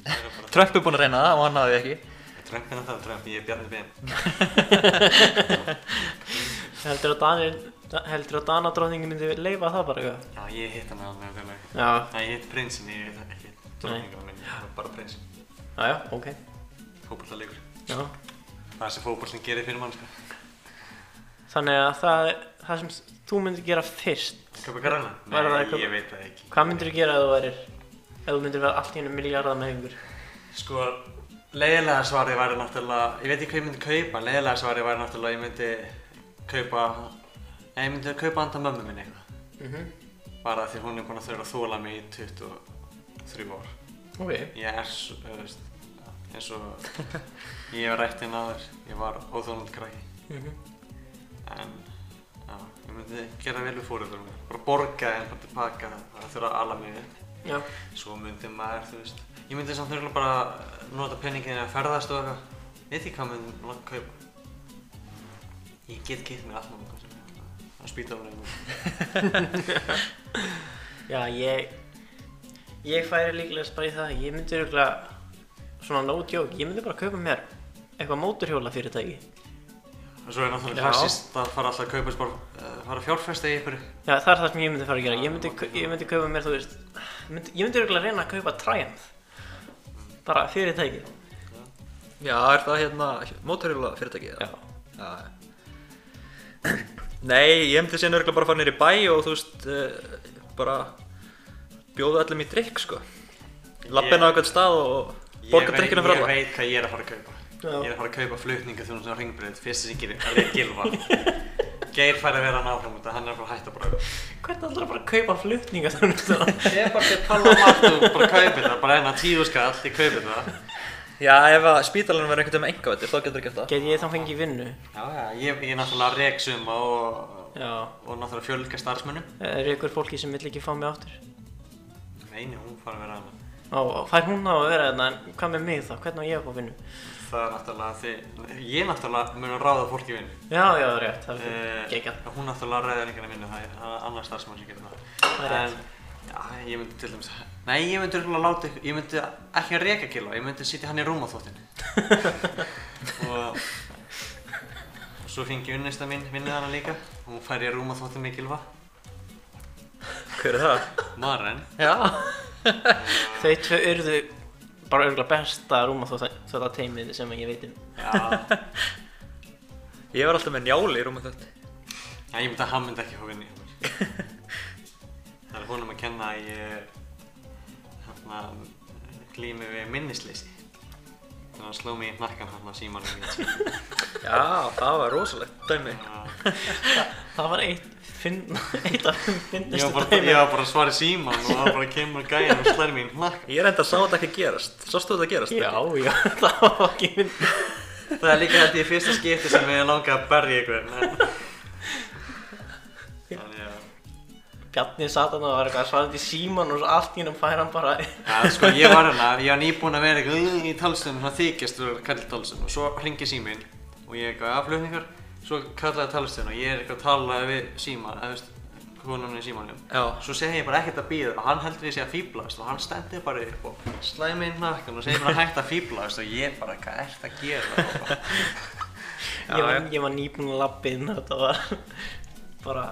[SPEAKER 2] Það er bara
[SPEAKER 3] Trump er búinn að reyna það og hann hafði ekki.
[SPEAKER 2] Trump en það, Trump, ég er Bjarni BM.
[SPEAKER 1] Heldur að Danir, heldur að Danadróningin myndi leifa það bara eitthvað?
[SPEAKER 2] Já, ég hitt hann alveg vel ekki.
[SPEAKER 1] Já,
[SPEAKER 2] Nei, ég hitt prinsin, ég hitt ekki dróningana minni, ég hitt bara prinsin.
[SPEAKER 1] já, já, ok.
[SPEAKER 2] Fókbaltaleikur.
[SPEAKER 1] Já.
[SPEAKER 2] Það er sem fókbaltin gerir fyrir sko. mannska.
[SPEAKER 1] Þannig að það, er- það sem þú myndir gera fyrst,
[SPEAKER 2] Kaupa grana?
[SPEAKER 1] Var það
[SPEAKER 2] Nei,
[SPEAKER 1] eitthvað-
[SPEAKER 2] ég veit það ekki.
[SPEAKER 1] hvað myndir þú gera ef þú værir, ef þú myndir vera allt í hennu miljardar með yngur?
[SPEAKER 2] Sko, leiðilega svarið væri náttúrulega, ég veit ekki hvað ég myndi kaupa, leiðilega svarið væri náttúrulega, ég myndi kaupa, nei, ég myndi kaupa handa mömmu minni eitthvað.
[SPEAKER 1] Mhm.
[SPEAKER 2] Bara því hún er búin að þurfa að þóla mig í 23 ár.
[SPEAKER 1] Ok.
[SPEAKER 2] Ég er svo, þú veist, eins og ég hef rætt inn aður, ég var óþónald krakki.
[SPEAKER 1] Mhm.
[SPEAKER 2] En, já, ég myndi gera vel við fóröldum mér. Bara borga en bara tilbaka, það þurfa að ala mig upp.
[SPEAKER 1] Já.
[SPEAKER 2] Svo myndi maður, þú veist, ég myndi samt nörgulega bara nota peningin að ferðast og eitthvað. Veit ekki hvað myndi langt kaupa. Ég get gett mér allt með hvað sem ég ætla. Það spýta á mér.
[SPEAKER 1] Já, ég, ég færi líklegast bara í það, ég myndi örgulega, svona no joke, ég myndi bara kaupa mér eitthvað móturhjóla fyrirtæki.
[SPEAKER 2] Og svo er náttúrulega
[SPEAKER 1] Já.
[SPEAKER 2] klassist að fara alltaf að kaupa, spár, uh, fara að fjárfesta í ykkur.
[SPEAKER 1] Já, það er það sem ég myndi fara að gera, ég myndi, ég myndi kaupa mér, þú veist, ég myndi, ég myndi örgulega reyna að kaupa Triumph, bara fyrirtæki.
[SPEAKER 3] Já, er það hérna mótorhjóla fyrirtækið?
[SPEAKER 1] Já.
[SPEAKER 3] Já. Nei, ég hefndi síðan örgulega bara að fara nýri bæ og þú veist, uh, bara bjóða öllum í drikk, sko. Lappin á eitthvað stað og borga drikkina fyrir
[SPEAKER 2] Ég
[SPEAKER 3] alla.
[SPEAKER 2] veit hvað ég er að fara að kaupa. Ég
[SPEAKER 1] Já.
[SPEAKER 2] er að fara að kaupa flutninga þjónum sem á ringbröð, fyrst sem ég gerir, alveg gilva. Geir fær að vera hann áfram út af hann er að fara að hætta bara.
[SPEAKER 1] Hvernig ætlar að bara kaupa flutninga þannig að
[SPEAKER 2] Ég er bara til að palla á allt og bara kaupir það, bara enna tíu skall, ég kaupir það.
[SPEAKER 3] Já, ef að spítalinn verður einhvern veginn engavættir, þá getur þú gert það.
[SPEAKER 1] Get ég þá fengið vinnu?
[SPEAKER 2] Já, já, ég, ég er náttúrulega rek suma og,
[SPEAKER 1] Já.
[SPEAKER 2] og náttúrulega fjölga starfsmönnum.
[SPEAKER 1] Er ykkur fólki sem vill ekki fá mig áttur?
[SPEAKER 2] Nei, nei, hún fara að vera hann.
[SPEAKER 1] Ó, fær hún á að vera þarna, en hvað með mig þá? Hvernig á ég að fá vinnu?
[SPEAKER 2] Það er náttúrulega því, ég náttúrulega mun að ráða fólki vinn.
[SPEAKER 1] Já, já, rétt, það er
[SPEAKER 2] Eh,
[SPEAKER 1] geggjað.
[SPEAKER 2] Hún náttúrulega ræðir einhvern veginn það er það er annar starfsmann sem getur
[SPEAKER 1] Það
[SPEAKER 2] það.
[SPEAKER 1] er
[SPEAKER 2] En, já, ég myndi til dæmis, nei, ég myndi örugglega láta, ykkur- ég myndi ekki að reka killa, ég myndi sitja hann í rúmaþóttin. og, og svo fengi unnista mín, vinnið hana líka, hún fær í rúmaþóttin með kilva,
[SPEAKER 3] Hver er það?
[SPEAKER 2] Maren.
[SPEAKER 3] Já.
[SPEAKER 1] Þau tvö urðu bara örgulega besta rúma þó þetta teimið sem ég veit um.
[SPEAKER 2] Já,
[SPEAKER 3] Ég var alltaf með njáli í rúmið þetta.
[SPEAKER 2] já, ég myndi að hann myndi ekki fá vinni hjá mér. Það er honum að kenna að ég, hérna, glými við minnisleysi. Þannig að hann sló mig í hnakkan hérna símanum í þessu.
[SPEAKER 3] Já, það var rosalegt dæmi.
[SPEAKER 2] Já,
[SPEAKER 1] Það var eitt, finn, eitt af þeim
[SPEAKER 2] Ég var
[SPEAKER 1] finnustu
[SPEAKER 2] bara, ég
[SPEAKER 1] teimið.
[SPEAKER 2] var bara að svara í síman og það bara kemur gæjan og slær mín hnakk.
[SPEAKER 3] Ég reynda að sá þetta ekki gerast. Sástu þetta gerast?
[SPEAKER 1] Já, já, það var ekki mynd.
[SPEAKER 2] Það er líka þetta í fyrsta skipti sem ég langaði að berja einhvern. en- Þannig að,
[SPEAKER 1] Bjarni sat hann og var eitthvað svarðið í síman og svo allt í hennum fær hann bara
[SPEAKER 2] ja, sko ég var hérna, ég var nýbúinn að vera eitthvað í talsum, svona þykjast og kallir talsum og svo hringi síminn og ég er eitthvað aflöfningar, svo kallaði talsum og ég er eitthvað að tala við síman, eða veist, konunni í símanum.
[SPEAKER 3] Já.
[SPEAKER 2] Svo segi ég bara ekkert að býða og hann heldur ég sé að fýblast og hann stendur bara upp og slæði mig í nakkan og segir bara hægt að fýblast og ég bara, hvað ert að gera? Og bara,
[SPEAKER 1] ég, var,
[SPEAKER 3] Já, já.
[SPEAKER 1] ég var nýbúinn að labba inn og þetta var bara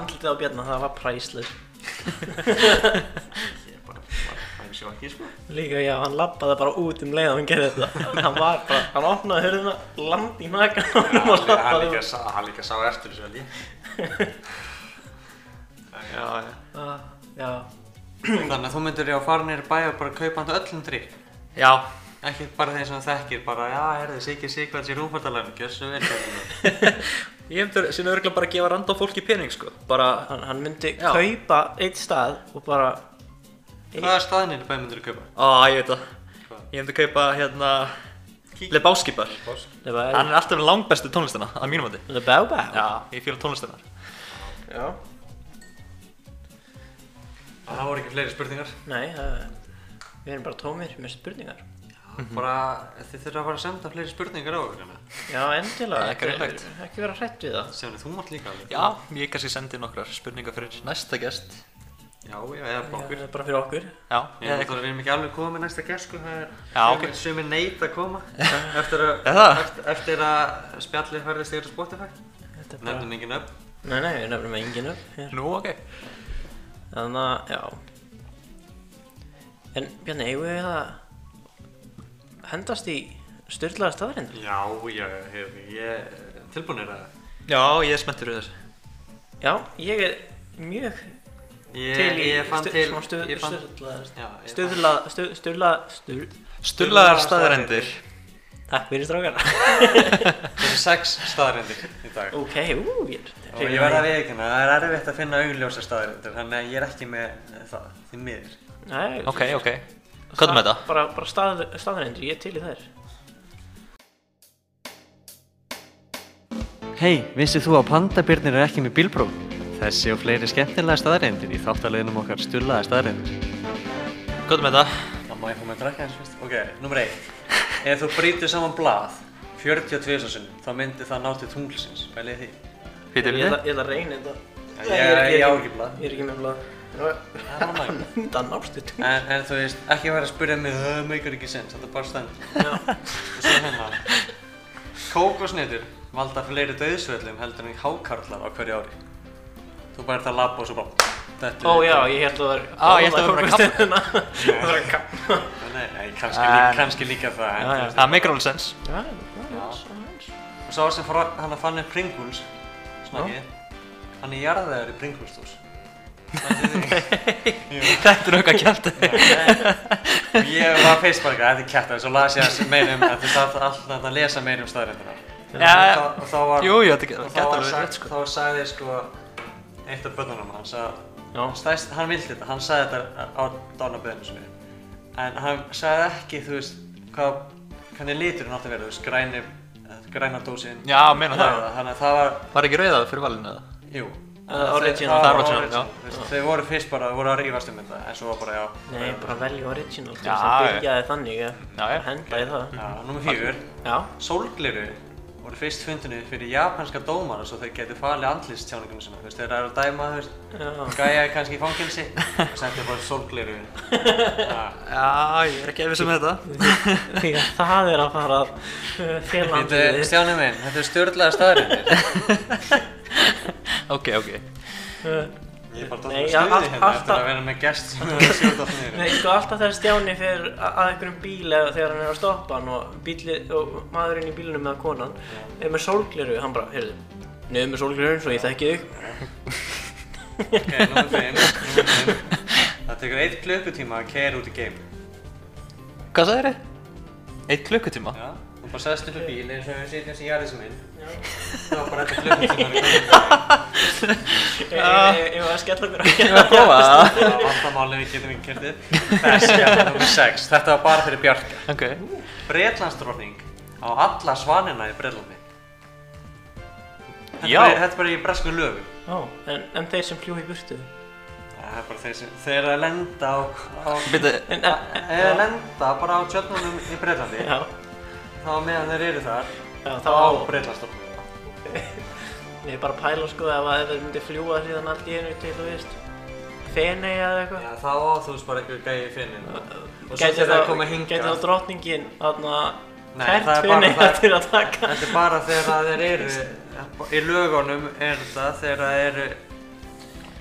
[SPEAKER 1] andlitið á Bjarni, það var præslis.
[SPEAKER 2] Ég er bara, bara, það er sjokki sko
[SPEAKER 1] Líka já, hann labbaði bara út um leið og hann gerði þetta. hann var bara, hann opnaði hörðuna, landi í nakan á honum og labbaði út.
[SPEAKER 2] sá, hann líka sá eftir þessu held ég Já, já
[SPEAKER 1] Ah, Já,
[SPEAKER 2] Þannig að þú myndir ég að fara nýra bæ og bara kaupa hann öllum drikk
[SPEAKER 3] Já.
[SPEAKER 2] Ekki bara þeir sem þú þekkir, bara já, herðu, Siggi Sigvards í rúmfartalæðinu, gjössu vel hérna.
[SPEAKER 3] Ég hefndi sinna örgulega bara að gefa randá fólki pening, sko. Bara,
[SPEAKER 1] hann, hann myndi
[SPEAKER 3] Já.
[SPEAKER 1] kaupa eitt stað og bara
[SPEAKER 2] Hvaða staðinir bæ myndir þú kaupa?
[SPEAKER 3] á, ég veit það.
[SPEAKER 2] Hvað?
[SPEAKER 3] Ég hefndi kaupa, hérna,
[SPEAKER 2] Kík-
[SPEAKER 3] Lebowski bar.
[SPEAKER 1] Lebau
[SPEAKER 3] Hann er alltaf með langbestu tónlistina, að mínum mati.
[SPEAKER 1] Lebau
[SPEAKER 3] Já, ég fíla tónlistina.
[SPEAKER 1] Já
[SPEAKER 2] Það voru ekki fleiri spurningar
[SPEAKER 1] Nei, það Við erum bara tómir með spurningar
[SPEAKER 2] Bara, þið þurfa að fara að senda fleiri spurningar á okkur hérna
[SPEAKER 1] Já, endilega
[SPEAKER 3] Ekki
[SPEAKER 1] ekki,
[SPEAKER 3] reyndlegt.
[SPEAKER 1] ekki vera hrætt við það
[SPEAKER 2] Sjáni, þú mátt líka alveg
[SPEAKER 3] Já, ég kannski sendi nokkrar spurningar fyrir næsta gest.
[SPEAKER 2] Já, já, eða bara okkur
[SPEAKER 1] Já, bara fyrir okkur
[SPEAKER 3] Já,
[SPEAKER 2] Ég
[SPEAKER 3] eða
[SPEAKER 2] veit
[SPEAKER 3] eitthvað.
[SPEAKER 2] að við erum ekki alveg komið með næsta gest sko, það er
[SPEAKER 3] Já, ok.
[SPEAKER 2] sumir- sumir neyt að koma eftir
[SPEAKER 3] Er
[SPEAKER 2] að,
[SPEAKER 3] það?
[SPEAKER 2] eftir, eftir að spjallið færðist yfir á Spotify.
[SPEAKER 1] Þetta er bara
[SPEAKER 2] Nefnum engin upp.
[SPEAKER 1] Nei, nei, við nefnum engin upp hér.
[SPEAKER 3] Nú, ok.
[SPEAKER 1] Þannig að, já En Bjarni, eigum við að hendast í styrlaða staðarindur?
[SPEAKER 2] Já, já, hef, ég tilbúin er að
[SPEAKER 3] Já, ég er spenntur við þessu.
[SPEAKER 1] Já, ég er mjög
[SPEAKER 2] ég,
[SPEAKER 1] til í
[SPEAKER 2] ég fann
[SPEAKER 1] stu-
[SPEAKER 2] til,
[SPEAKER 1] svona stu-
[SPEAKER 2] ég fann,
[SPEAKER 1] styrlaðar
[SPEAKER 2] já, ég
[SPEAKER 1] Sturla, stu- sturla, sturla,
[SPEAKER 3] Sturlaðar staðarendir.
[SPEAKER 1] takk fyrir strákar.
[SPEAKER 2] fann þessi sex staðarindir í dag.
[SPEAKER 1] ok, ú, ég
[SPEAKER 2] Og ég verða að viðkynna, það er erfitt að finna augljósa staðarindir, þannig að ég er ekki með það, því miður.
[SPEAKER 1] Nei,
[SPEAKER 3] Ok, ok. Hvað er með þetta?
[SPEAKER 1] Bara, bara stað, staðarendur, ég er til í þær.
[SPEAKER 2] Hei, vissið þú að pandabirnir er ekki með bílpróf? Þessi og fleiri skemmtilega staðarindir í þáttaleginum okkar stullaða staðarindir.
[SPEAKER 3] Hvað er með þetta?
[SPEAKER 2] Það má ég fá mig að drakka eins fyrst. Ok, nummer 1. Ef þú brýtur saman blað 42 sinnum, þá myndir það ná til tunglsins. Pælið þið því.
[SPEAKER 1] Ég
[SPEAKER 3] Fyrir
[SPEAKER 1] ætla
[SPEAKER 3] við?
[SPEAKER 1] ég ætla að reyna þetta.
[SPEAKER 2] En
[SPEAKER 1] Nei,
[SPEAKER 2] ég-
[SPEAKER 1] er-
[SPEAKER 2] ég á
[SPEAKER 1] er
[SPEAKER 2] ekki blað.
[SPEAKER 1] Ég er ekki með blað.
[SPEAKER 2] Það er annað.
[SPEAKER 1] Það nástu tungl.
[SPEAKER 2] En, en þú veist, ekki vera að spyrja mig, það meikar ekki sens, þetta er bara stend.
[SPEAKER 1] Já.
[SPEAKER 2] Og svo hérna. Kókosneitur valda fleiri dauðsvöllum heldur en hákarlar á hverju ári. Þú bara ert að labba og svo bara... dettur
[SPEAKER 1] Ó
[SPEAKER 2] þér.
[SPEAKER 1] já, ég held að það var...
[SPEAKER 3] Á, ég held að það var bara
[SPEAKER 1] kaffa. Það var að kaffa.
[SPEAKER 2] Nei, nei, kannski,
[SPEAKER 3] En-
[SPEAKER 2] lí, kannski líka það. En,
[SPEAKER 1] Já, já.
[SPEAKER 3] Það meikar alveg sens.
[SPEAKER 1] Já, já, já.
[SPEAKER 2] Og sá sem fór hann að fann upp Pringles, smakkið, hann er jarðaður í Pringles-dós.
[SPEAKER 3] Þetta er eitthvað kjæft
[SPEAKER 2] Ég var fyrst bara eitthvað, þetta er kætt og svo las ég að meira um, þú þarf alltaf að lesa meira um staðrindina.
[SPEAKER 3] Já,
[SPEAKER 2] og þá var,
[SPEAKER 3] Jú, jú, þetta
[SPEAKER 2] og
[SPEAKER 3] gæti
[SPEAKER 2] þá var
[SPEAKER 3] alveg
[SPEAKER 2] sagt,
[SPEAKER 3] rétt sko
[SPEAKER 2] þá sagði sko eitt af börnunum hans að
[SPEAKER 1] Já.
[SPEAKER 2] stæst, hann vildi þetta, hann sagði þetta á dánaböðinu sinni. En hann sagði ekki, þú veist, hvað, hvernig liturinn átti að vera, þú veist, græni, græna dósin.
[SPEAKER 3] Já, meina það
[SPEAKER 2] Þannig að það var,
[SPEAKER 3] Var ekki rauðað fyrir valinu eða?
[SPEAKER 2] jú.
[SPEAKER 1] Uh, original.
[SPEAKER 2] það var
[SPEAKER 3] Það var original,
[SPEAKER 2] original, þú veist, Þau voru fyrst bara, þau voru að rífast um þetta, en svo var bara, já.
[SPEAKER 1] Nei, bara velja original til
[SPEAKER 3] Já,
[SPEAKER 1] þess að
[SPEAKER 3] já.
[SPEAKER 1] byrjaði þannig að
[SPEAKER 3] Já, já.
[SPEAKER 1] að henda í það.
[SPEAKER 2] Já, númer fjögur.
[SPEAKER 1] Já,
[SPEAKER 2] Sólgliru voru fyrst fundinu fyrir japanska dómara svo þeir geti falið andlistjáningunum sinna, þú veist, þeir eru að dæma, þú veist,
[SPEAKER 1] já.
[SPEAKER 2] gæja er kannski í fangelsi og sendu bara sólgliru. Já,
[SPEAKER 3] Já, ég er ekki efins um þetta
[SPEAKER 1] Því að það er að fara að uh, fela
[SPEAKER 2] Þetta er,
[SPEAKER 1] andliðið.
[SPEAKER 2] Stjáni minn, þetta er stjórnlega staðrindir.
[SPEAKER 3] Ok, ok
[SPEAKER 1] Uh,
[SPEAKER 2] Ég er bara
[SPEAKER 1] Nei,
[SPEAKER 2] dóttur
[SPEAKER 1] all-
[SPEAKER 2] stuði hérna eftir
[SPEAKER 1] alltaf-
[SPEAKER 2] að vera með gest sem er að sjóta allt niður.
[SPEAKER 1] Nei, sko alltaf þegar Stjáni fer a- að einhverjum bíl eða þegar hann er að stoppa hann og, bíli, og maðurinn í bílunum með konan er með sólgleru, hann bara, heyrðu, niður með sólgleru svo ég þekki þig.
[SPEAKER 2] Ok, númer fimm, númer fimm. Það tekur eitt klukkutíma að keira út í geim.
[SPEAKER 3] Hvað sagðir þið? Eitt klukkutíma?
[SPEAKER 2] Já, þú bara sest upp í bíl eins og við sitjum sem jarðið sem minn. Það var bara þetta klukkutíma að keira út í geim.
[SPEAKER 1] Ég var að skella okkur á
[SPEAKER 3] Ég var að prófa það
[SPEAKER 2] Það var alltaf málið við getum ekki kertið. Þess, já, nummer 6. Þetta var bara fyrir Bjarka.
[SPEAKER 3] Ok
[SPEAKER 2] Breitlandsdróning á alla svanina í Breitlandi. Þetta
[SPEAKER 3] Já.
[SPEAKER 2] bara- Þetta er bara í bresku lögum.
[SPEAKER 1] Ó, en, en þeir sem fljúi í burtu?
[SPEAKER 2] Það er bara þeir sem, þeir eru að lenda á, á
[SPEAKER 3] Býttu,
[SPEAKER 1] En, en,
[SPEAKER 2] eru að lenda bara á tjöldunum í Breitlandi.
[SPEAKER 1] já,
[SPEAKER 2] Þá meðan þeir eru þar,
[SPEAKER 1] já, þá
[SPEAKER 2] þá á
[SPEAKER 1] á,
[SPEAKER 2] Breitlandsdróning.
[SPEAKER 1] ég er bara að pæla sko ef að ef þeir myndi fljúa síðan allt í einu til, þú veist, Fenei eða eitthvað.
[SPEAKER 2] Já, þá á þú veist bara eitthvað gæði í finnin. Og svo
[SPEAKER 1] Gæti
[SPEAKER 2] þegar það
[SPEAKER 1] þá,
[SPEAKER 2] koma hingað.
[SPEAKER 1] gæti þá drottningin þarna
[SPEAKER 2] Nei, það
[SPEAKER 1] kært
[SPEAKER 2] er bara
[SPEAKER 1] finni
[SPEAKER 2] það-
[SPEAKER 1] til að taka
[SPEAKER 2] Þetta er bara þegar að þeir eru í lögunum er þetta þegar að þeir eru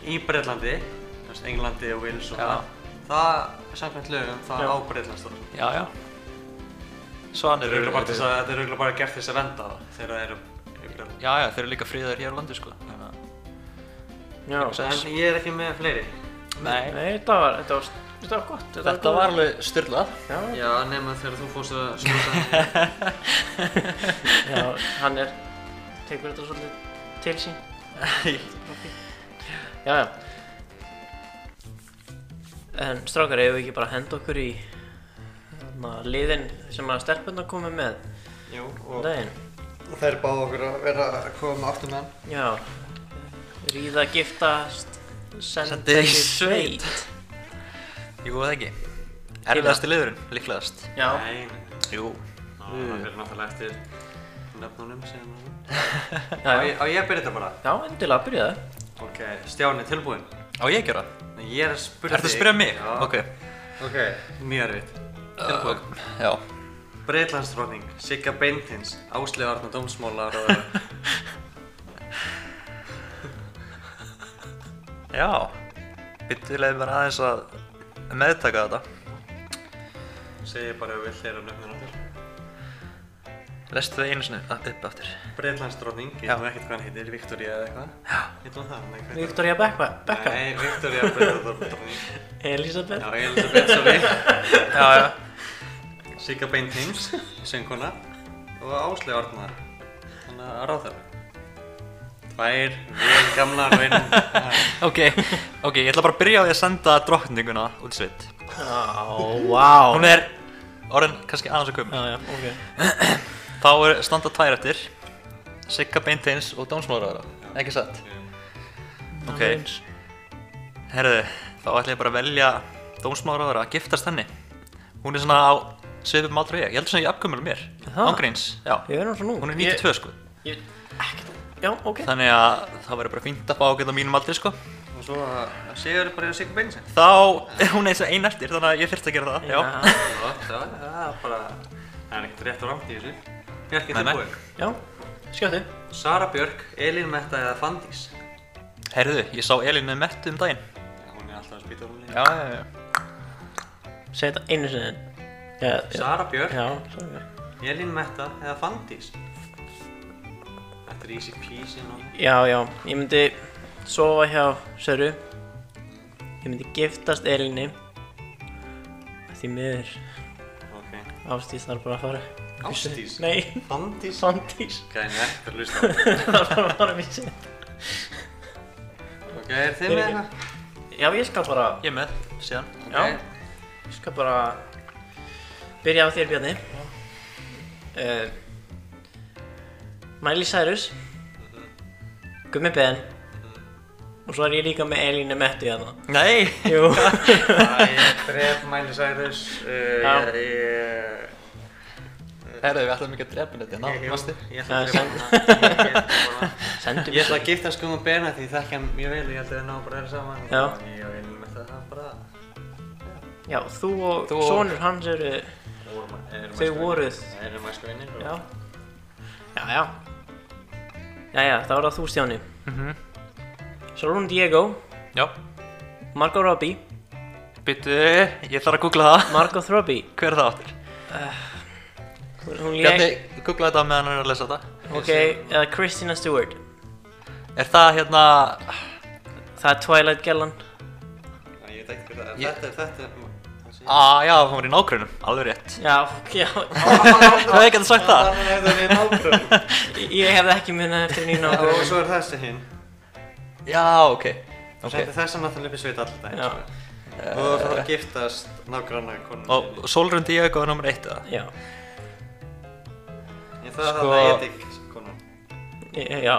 [SPEAKER 2] í Breitlandi þú veist, Englandi og Wales og
[SPEAKER 3] Já.
[SPEAKER 2] það það samkvæmt lögum það
[SPEAKER 1] Já.
[SPEAKER 2] á Breitlandsdóttur
[SPEAKER 3] já, já
[SPEAKER 2] Þetta
[SPEAKER 3] Svanir
[SPEAKER 2] er örugglega bara til þess að- þetta er örugglega bara gert til þess að venda það þegar það eru í Breitlandi
[SPEAKER 3] Já, já, þeir eru líka fríðar hér á landi sko Þannig að-
[SPEAKER 1] Já,
[SPEAKER 3] Sæs.
[SPEAKER 2] En ég er ekki með fleiri
[SPEAKER 3] Nei
[SPEAKER 1] nei, þetta var, þetta var, þetta var gott
[SPEAKER 3] Þetta
[SPEAKER 1] góð-
[SPEAKER 3] var alveg styrlað
[SPEAKER 1] Já,
[SPEAKER 2] Já, nema þegar þú fórst að skjóta
[SPEAKER 1] já, hann er, tekur þetta svolítið til sín Já, já En strákar, eigum við ekki bara að henda okkur í þarna, liðin sem að stelpunna komu með
[SPEAKER 2] Jú,
[SPEAKER 1] um daginn
[SPEAKER 2] og þeir báðu okkur að vera að koma aftur með hann
[SPEAKER 1] Já, ríða, giftast,
[SPEAKER 3] Senda
[SPEAKER 1] senda
[SPEAKER 3] í
[SPEAKER 1] í
[SPEAKER 3] sveit.
[SPEAKER 1] sveit
[SPEAKER 3] Jú, það ekki Erfiðasti liðurinn, líklegast
[SPEAKER 1] Já,
[SPEAKER 2] Nei, nei.
[SPEAKER 3] Jú
[SPEAKER 2] Ná, það fyrir náttúrulega eftir nöfnunum sem
[SPEAKER 1] já,
[SPEAKER 2] Á
[SPEAKER 1] já.
[SPEAKER 2] ég- á ég að byrja þetta bara?
[SPEAKER 1] já endilega byrja það.
[SPEAKER 2] Ok, Stjáni, tilbúinn?
[SPEAKER 3] Á ég að gera?
[SPEAKER 2] Nei, Ég er að spyrja
[SPEAKER 3] Ertu að spyrja mig?
[SPEAKER 2] Já.
[SPEAKER 3] Ok
[SPEAKER 2] Ok, mjög erfitt. Tilbúin.
[SPEAKER 3] Tilbúin Já
[SPEAKER 2] Breitlandsdróning, Sigga Beintins, Ásleif Arna Dómsmála ráðara.
[SPEAKER 3] Já, byttu leið mér aðeins að meðtaka þetta.
[SPEAKER 2] Segir bara að við þeirra nöfnum áttur.
[SPEAKER 3] Lestu það einu sinni að upp aftur.
[SPEAKER 2] Breitlandsdróning, ég
[SPEAKER 3] Já.
[SPEAKER 2] veit nú ekkert hvað hann heitir, Viktoria eða eitthvað.
[SPEAKER 3] Já.
[SPEAKER 2] Heitir hún það? Nei, hvað heitir hún?
[SPEAKER 1] Victoria Becka, Becka.
[SPEAKER 2] Nei, Viktoria Breitlandsdróning.
[SPEAKER 1] Elisabeth.
[SPEAKER 2] Já, Elisabeth Soli,
[SPEAKER 3] Já, já.
[SPEAKER 2] Sigga Beintins, söngkona og Ásleif Arna, hann að ráðara. Tvær, vel gamlar og einn.
[SPEAKER 3] Ok, ok, ég ætla bara að byrja á því að senda drottninguna út í sveit.
[SPEAKER 1] Já, vá.
[SPEAKER 3] Hún er orðin kannski aðeins að koma.
[SPEAKER 1] Já, já, ok.
[SPEAKER 3] Þá er standa tvær eftir, Sigga Beintins og Dómsmálaráðara, ekki satt? Ok.
[SPEAKER 1] Aðeins.
[SPEAKER 3] Herðu, þá ætla ég bara að velja Dómsmálaráðara að giftast henni. Hún er svona á svipum aldrei ég, ég heldur svona ég afgömmul mér,
[SPEAKER 1] Aha.
[SPEAKER 3] ángríns, já.
[SPEAKER 1] Ég verður svo nú.
[SPEAKER 3] Hún er 92 sko,
[SPEAKER 1] Ég, ég, ekkert. Já, ok.
[SPEAKER 3] þannig að það verður bara fínt að fá ágætt á mínum aldri sko.
[SPEAKER 2] Og svo að Sigur er bara hjá Sigga Beintins.
[SPEAKER 3] Þá er hún eins og ein eftir, þannig að ég þurfti að gera það, já.
[SPEAKER 2] Já, það það er bara, það er ekkert rétt og rámt í þessu. Björk er
[SPEAKER 3] Nei, nei.
[SPEAKER 2] tilbúin.
[SPEAKER 1] Já, skjóttu.
[SPEAKER 2] Sara Björk, Elín Metta eða Fandís.
[SPEAKER 3] Heyrðu, ég sá Elín með mettu um daginn.
[SPEAKER 2] Hún er alltaf að spýta hún líka.
[SPEAKER 3] Já, já, já.
[SPEAKER 1] Segð þetta einu sinni. enn. Já, já.
[SPEAKER 2] Sara Björk,
[SPEAKER 1] Já, sorry.
[SPEAKER 2] Elín Metta eða Fandís. Þetta er easy peasy nú.
[SPEAKER 1] Já, já. Ég myndi sofa hjá Söru Ég myndi giftast Elinni Því miður
[SPEAKER 3] Ok.
[SPEAKER 1] Ástís þarf bara að fara
[SPEAKER 3] Ásdís?
[SPEAKER 1] Nei,
[SPEAKER 3] Fandís?
[SPEAKER 1] Sandís
[SPEAKER 3] Gæðin er eftir að hlusta.
[SPEAKER 1] Það var að fara vísi
[SPEAKER 2] Ok, er þið með hérna? það?
[SPEAKER 1] Já, ég skal bara
[SPEAKER 3] Ég er með, síðan.
[SPEAKER 1] Já. Ég skal bara byrja á þér Bjarni uh, Miley Cyrus Gummi Ben Og svo er ég líka með Elínu hérna. Metti þarna
[SPEAKER 3] Nei!
[SPEAKER 1] Mhm. Jú
[SPEAKER 2] Ég dref Miley Cyrus, uh,
[SPEAKER 1] Já.
[SPEAKER 2] ég, ég,
[SPEAKER 3] Herðu, við ætlum ekki að drepa hérna,
[SPEAKER 2] ég,
[SPEAKER 3] þetta,
[SPEAKER 2] ég,
[SPEAKER 3] náttúrulega.
[SPEAKER 2] ég ætla
[SPEAKER 1] Það
[SPEAKER 2] að
[SPEAKER 1] er
[SPEAKER 2] drefa hana. Ég ætla bara-
[SPEAKER 1] Sendum
[SPEAKER 2] Ég ætla að gifta sko um Berna því ég þekki hann mjög vel, ég held að við náum bara að vera saman.
[SPEAKER 1] Já.
[SPEAKER 2] Ég vil með það það bara,
[SPEAKER 1] Já, þú og
[SPEAKER 3] Þú og-
[SPEAKER 1] sonur hans eru Þau voruð.
[SPEAKER 2] Það eru mæsku vinnir og
[SPEAKER 1] Já Já, já Jæja, þá er það þú Stjáni Mhm. Solon Diego
[SPEAKER 3] Já.
[SPEAKER 1] Margot Robbie
[SPEAKER 3] Byttu, ég þarf að googla það.
[SPEAKER 1] Margot Robbie
[SPEAKER 3] Hver er það áttur?
[SPEAKER 1] Hún, hún
[SPEAKER 3] Bjarni,
[SPEAKER 1] lék
[SPEAKER 3] googla þetta meðan hann er að lesa þetta.
[SPEAKER 1] Ok, eða Christina Stewart
[SPEAKER 3] Er það hérna...
[SPEAKER 1] Það er Twilight Gellan
[SPEAKER 2] Já, Ég veit ekki hvað það
[SPEAKER 3] Ég-
[SPEAKER 2] er, þetta er, þetta er
[SPEAKER 3] Ah, já, hún var í nágrunum. Alveg rétt.
[SPEAKER 1] Já, já
[SPEAKER 3] Hvað hefði getað sagt það?
[SPEAKER 2] Þannig að það er nágrunn
[SPEAKER 1] Ég hefði ekki munið eftir nýna
[SPEAKER 2] Og svo er þessi hinn
[SPEAKER 3] Já, ok.
[SPEAKER 2] okay.
[SPEAKER 3] Ok.
[SPEAKER 2] Þetta þessi náttúrulega upp í sveit alltaf
[SPEAKER 1] Já.
[SPEAKER 2] Og þú þarf að giftast nágranna konunni
[SPEAKER 3] Og Solrun Diego er nummer eitt eða?
[SPEAKER 1] Já,
[SPEAKER 2] Ég þarf að
[SPEAKER 3] sko-
[SPEAKER 2] það er edik konun
[SPEAKER 1] Ég- já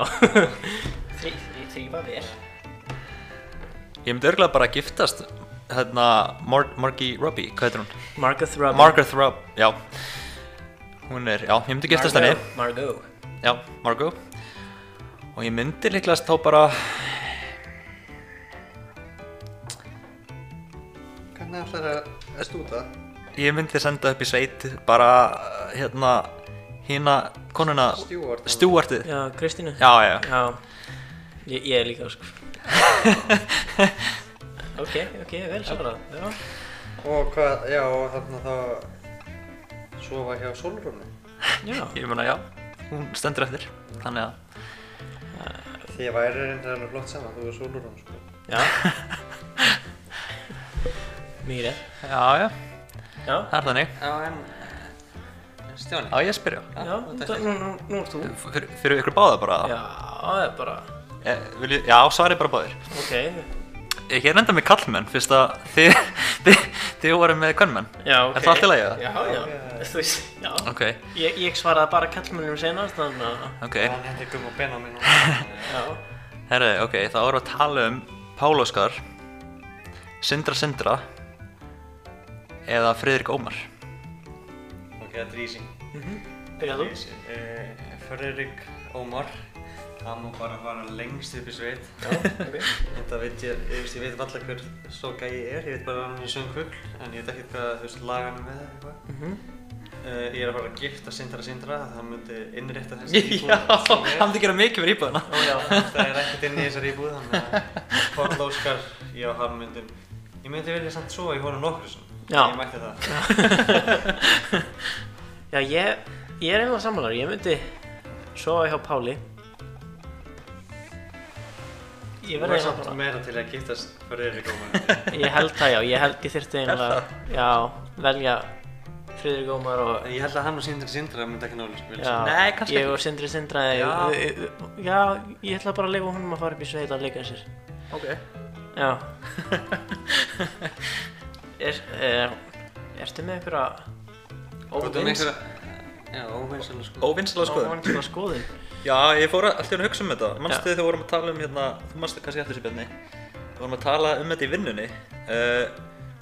[SPEAKER 1] Þrýfa vel
[SPEAKER 3] Ég myndi örgulega bara að giftast hérna Mar Margie Robbie, hvað heitir hún?
[SPEAKER 1] Margot Robbie
[SPEAKER 3] Margaret Rob, já Hún er, já, ég myndi giftast henni
[SPEAKER 1] Margot. Margot
[SPEAKER 3] Já, Margo Og ég myndi líklast þá bara
[SPEAKER 2] Hvernig ætlar það að stúta?
[SPEAKER 3] Ég myndi senda upp í sveit bara hérna hína konuna
[SPEAKER 2] Stjúart
[SPEAKER 3] Stjúartið
[SPEAKER 1] Já, Kristínu
[SPEAKER 3] Já, já, já.
[SPEAKER 1] Já, ég, ég er líka sko Ok, ok, vel svarað Já,
[SPEAKER 2] Og hvað, já, og þarna þá Sofa hjá Solrúnu
[SPEAKER 1] já,
[SPEAKER 3] ég meina já Hún stendur eftir Þannig að
[SPEAKER 2] Þið væri reyndar alveg flott saman, þú er Solrúnu sko
[SPEAKER 1] já. Mýri
[SPEAKER 3] Já, já,
[SPEAKER 1] Já,
[SPEAKER 3] það er þannig
[SPEAKER 2] Já, en en Stjáni
[SPEAKER 3] Já, ég að spyrja
[SPEAKER 1] já, þetta- nú, nú, nú er þú
[SPEAKER 3] Fyrir, fyrir ykkur báða bara
[SPEAKER 1] Já, það er bara
[SPEAKER 3] e, vilji, Já, svarið bara báðir Eh,
[SPEAKER 1] Ok,
[SPEAKER 3] Ég er enda með kallmenn, fyrst að þið, þið, þið voru með kvennmenn.
[SPEAKER 1] já, ok
[SPEAKER 3] Er það allt í lagi, eða?
[SPEAKER 1] Já, já, þú veist, já
[SPEAKER 3] Ok,
[SPEAKER 1] Ég, ég svaraði bara kallmennum senast, þannig að
[SPEAKER 3] ok.
[SPEAKER 2] Hann hendur gum og bena minn og
[SPEAKER 1] Já,
[SPEAKER 3] Herru, ok, þá erum við að tala um Pál Óskar, Sindra Sindra eða Friðrik Ómar.
[SPEAKER 2] Ok, þetta er ísing
[SPEAKER 1] byrja þú
[SPEAKER 2] Eh, Fröðrik Ómar hann má bara fara lengst upp í sveit
[SPEAKER 1] ok.
[SPEAKER 2] þetta veit ég, ég veist, ég veit valla hver svo gæi er, ég veit bara að hann er söngfugl en ég veit ekki hvað, þú veist, laga hann með eða eitthvað
[SPEAKER 1] Mhm.
[SPEAKER 2] uh, ég er að fara að gifta Sindra Sindra það myndi innrétta þessi
[SPEAKER 3] Já, hann myndi gera mikið fyrir íbúðina.
[SPEAKER 1] Ó, já
[SPEAKER 2] það er ekkert inn í þessari íbúð þannig að Páll Óskar, já, hann myndi ég myndi velja samt svo í honum nokkur
[SPEAKER 1] Já.
[SPEAKER 2] ég mætti það
[SPEAKER 1] Já, ég, ég er einhvað samanlæri, ég myndi sofa hjá Páli Ég
[SPEAKER 2] þú
[SPEAKER 1] verði
[SPEAKER 2] er
[SPEAKER 1] einhvað
[SPEAKER 2] samt
[SPEAKER 1] bara
[SPEAKER 2] meira til að giftast Fröðrik Ómar
[SPEAKER 1] Ég held það já, ég held ég þyrfti einhvað Já, velja Friðrik Ómar og
[SPEAKER 2] ég held að hann og Sindra Sindra myndi ekki nálega spila
[SPEAKER 1] já,
[SPEAKER 3] Nei, kannski
[SPEAKER 1] Ég
[SPEAKER 3] ekki.
[SPEAKER 1] og Sindri Sindra Já,
[SPEAKER 2] Já.
[SPEAKER 1] já ég ætla bara að leifa honum að fara upp í sveit að leika sér
[SPEAKER 3] Ok.
[SPEAKER 1] Já er, er, Ertu með einhverja
[SPEAKER 2] Þú með
[SPEAKER 1] óvinns-
[SPEAKER 2] einhverja, já, óvinsala sko.
[SPEAKER 3] Óvinnslega skoðum.
[SPEAKER 1] óvinnslega skoðun?
[SPEAKER 3] Já, ég fór að- allt í hún að hugsa um þetta. Manstu þegar við vorum að tala um hérna, þú manstu kannski eftir þessi björni. Við vorum að tala um þetta í vinnunni. Uh,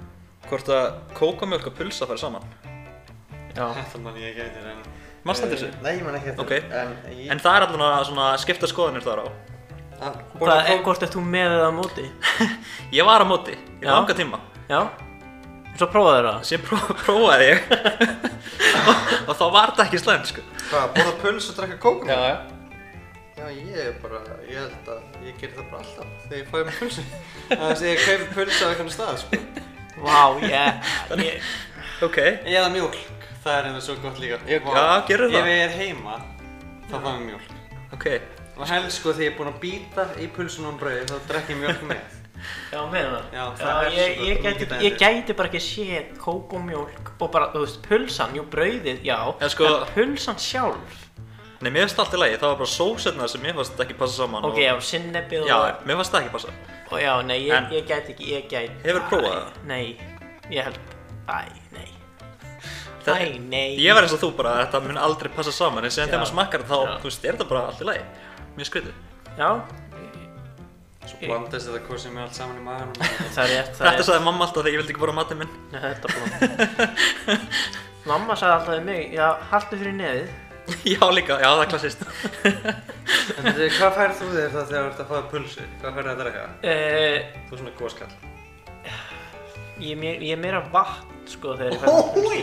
[SPEAKER 3] hvort að kókamjölk og pulsa fari saman.
[SPEAKER 1] Já,
[SPEAKER 2] Þetta mann ég ekki eftir en...
[SPEAKER 3] Manstu eftir þessu?
[SPEAKER 2] Eh, Nei, ég man ekki eftir.
[SPEAKER 3] Ok.
[SPEAKER 2] En, ég,
[SPEAKER 3] Eh, En það er allavega svona skipta skoðanir þar á.
[SPEAKER 2] að, borða
[SPEAKER 1] hvað,
[SPEAKER 2] kók-
[SPEAKER 1] hvort er þú með eða á móti?
[SPEAKER 3] Ég var á móti í
[SPEAKER 1] Já.
[SPEAKER 3] langa tíma.
[SPEAKER 1] Já Og svo prófaðu það
[SPEAKER 3] Sér pró prófaði ég og, og þá var þetta ekki slæmt sko.
[SPEAKER 2] Hvað, borða puls og drekka kókum?
[SPEAKER 3] já.
[SPEAKER 2] Já, ég er bara, ég held að ég gerir það bara alltaf þegar ég fæði mér pulsu. Þannig að ég kaupi pulsu á einhvern stað, sko.
[SPEAKER 1] Vá, ég, ég
[SPEAKER 3] Ok.
[SPEAKER 2] Eða mjólk, það er einhver svo gott líka. Ég,
[SPEAKER 3] Já, gerðu það.
[SPEAKER 2] Ef ég er heima, þá fæði mér mjólk.
[SPEAKER 3] Ok.
[SPEAKER 2] Og helst sko þegar ég er búinn að býta í pulsunum brauði, þá drekk ég mjólk með.
[SPEAKER 1] Já, meina það.
[SPEAKER 2] Já, það er
[SPEAKER 1] ég,
[SPEAKER 2] svo
[SPEAKER 1] ég,
[SPEAKER 2] mikið
[SPEAKER 1] gæti,
[SPEAKER 2] dæmi.
[SPEAKER 1] ég gæti bara ekki séð kóp og mjólk og bara, þú veist, pulsan, jú, brauðið, já,
[SPEAKER 3] En sko-
[SPEAKER 1] pulsan sjálf.
[SPEAKER 3] Nei, mér finnst allt í lagi, það var bara sósetnar sem mér fannst ekki passa saman
[SPEAKER 1] Ok, já, sinnebið
[SPEAKER 3] og...
[SPEAKER 1] og...
[SPEAKER 3] Já, mér fannst það ekki passa
[SPEAKER 1] Og já, nei, ég,
[SPEAKER 3] En-
[SPEAKER 1] ég gæti ekki, ég gæti...
[SPEAKER 3] Hefurðu prófað
[SPEAKER 1] Æ,
[SPEAKER 3] það?
[SPEAKER 1] Nei, ég held, æ, nei.
[SPEAKER 3] Það-
[SPEAKER 1] Æ, nei.
[SPEAKER 3] Ég var eins og þú bara, þetta mun aldrei passa saman En síðan
[SPEAKER 1] Já.
[SPEAKER 3] þegar maður smakkar það,
[SPEAKER 1] Já.
[SPEAKER 3] þá, þú veist, er þetta bara allt í lagi Mjög skrítið
[SPEAKER 1] Já,
[SPEAKER 2] Svo blandast þetta hvað sem er allt saman í maðurinn
[SPEAKER 1] það er rétt, það
[SPEAKER 3] Þetta
[SPEAKER 1] er...
[SPEAKER 3] sagði mamma alltaf þegar ég vildi ekki borða matinn minn
[SPEAKER 1] Nei, þetta er blóð. Mamma sagði alltaf við mig, já, haltu fyrir nefið.
[SPEAKER 3] Já, líka, já, það er klassist
[SPEAKER 2] En þú veist, hvað færð þú þér það þegar þú ert að fáið pulsu? Hvað færð það að drekka?
[SPEAKER 1] Uh,
[SPEAKER 2] Þú er svona góðskall
[SPEAKER 1] ég, er meir- ég er meira vatn, sko, þegar ég fæði pulsu.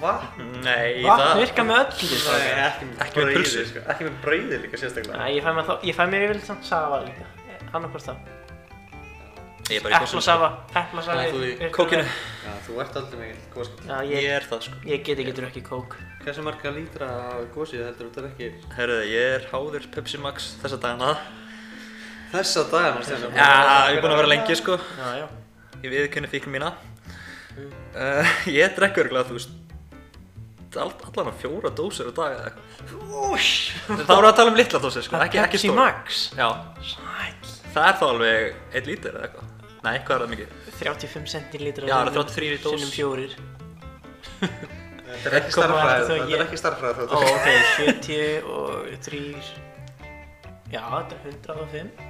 [SPEAKER 2] Vatn?
[SPEAKER 3] Nei,
[SPEAKER 1] Vatn
[SPEAKER 3] það
[SPEAKER 1] virka með öllu, sko.
[SPEAKER 2] Nei,
[SPEAKER 1] strákar.
[SPEAKER 2] ekki með
[SPEAKER 3] Ekki með
[SPEAKER 2] brauði,
[SPEAKER 3] pulsu.
[SPEAKER 2] sko. Ekki með brauði líka sérstaklega
[SPEAKER 1] Nei, ég fæ mér, þá, ég fæ mér yfirleitt samt safa líka. Annarkvort það.
[SPEAKER 3] Ég er bara í góðsum
[SPEAKER 1] Eplasafa, eplasafa.
[SPEAKER 2] Þannig að þú í
[SPEAKER 1] virkilega.
[SPEAKER 3] Kókinu,
[SPEAKER 2] Já, þú ert aldrei mikill góðskall
[SPEAKER 1] Já,
[SPEAKER 3] ég
[SPEAKER 1] ég,
[SPEAKER 3] er það sko
[SPEAKER 1] ég get ekki drukkið kók.
[SPEAKER 2] Hversu marga lítra af góðsíðu heldur þú drekki
[SPEAKER 3] Herruðu, ég er háður Pepsi Max þessa dagana
[SPEAKER 2] þessa dagana Stefán?
[SPEAKER 3] Já, ég er búinn að vera lengi sko
[SPEAKER 1] Já, já.
[SPEAKER 3] Ég viðkynni fíkn mína
[SPEAKER 1] Mm.
[SPEAKER 3] uh, Ég drekku örgulega, þú veist all, Allan að fjóra dósir á dag eða eitthvað
[SPEAKER 1] Úsh!
[SPEAKER 3] En Það voru að tala um litla dósir sko, ekki, ekki
[SPEAKER 1] Pepsi
[SPEAKER 3] stóra
[SPEAKER 1] Max.
[SPEAKER 3] Já,
[SPEAKER 1] Sæl.
[SPEAKER 3] það er þá alveg 1 lítur eða eitthvað Nei, hvað er það mikið?
[SPEAKER 1] 35 centilítra.
[SPEAKER 3] Já, það eru 33 í dós.
[SPEAKER 1] Sinnum fjórir.
[SPEAKER 2] Þetta er ekki
[SPEAKER 1] Koma,
[SPEAKER 2] starffræði,
[SPEAKER 1] þetta er
[SPEAKER 2] þetta er
[SPEAKER 1] ég-
[SPEAKER 2] ekki
[SPEAKER 1] Ó,
[SPEAKER 2] starffræði þetta
[SPEAKER 1] ok, 70 og 3. Já, þetta er 105.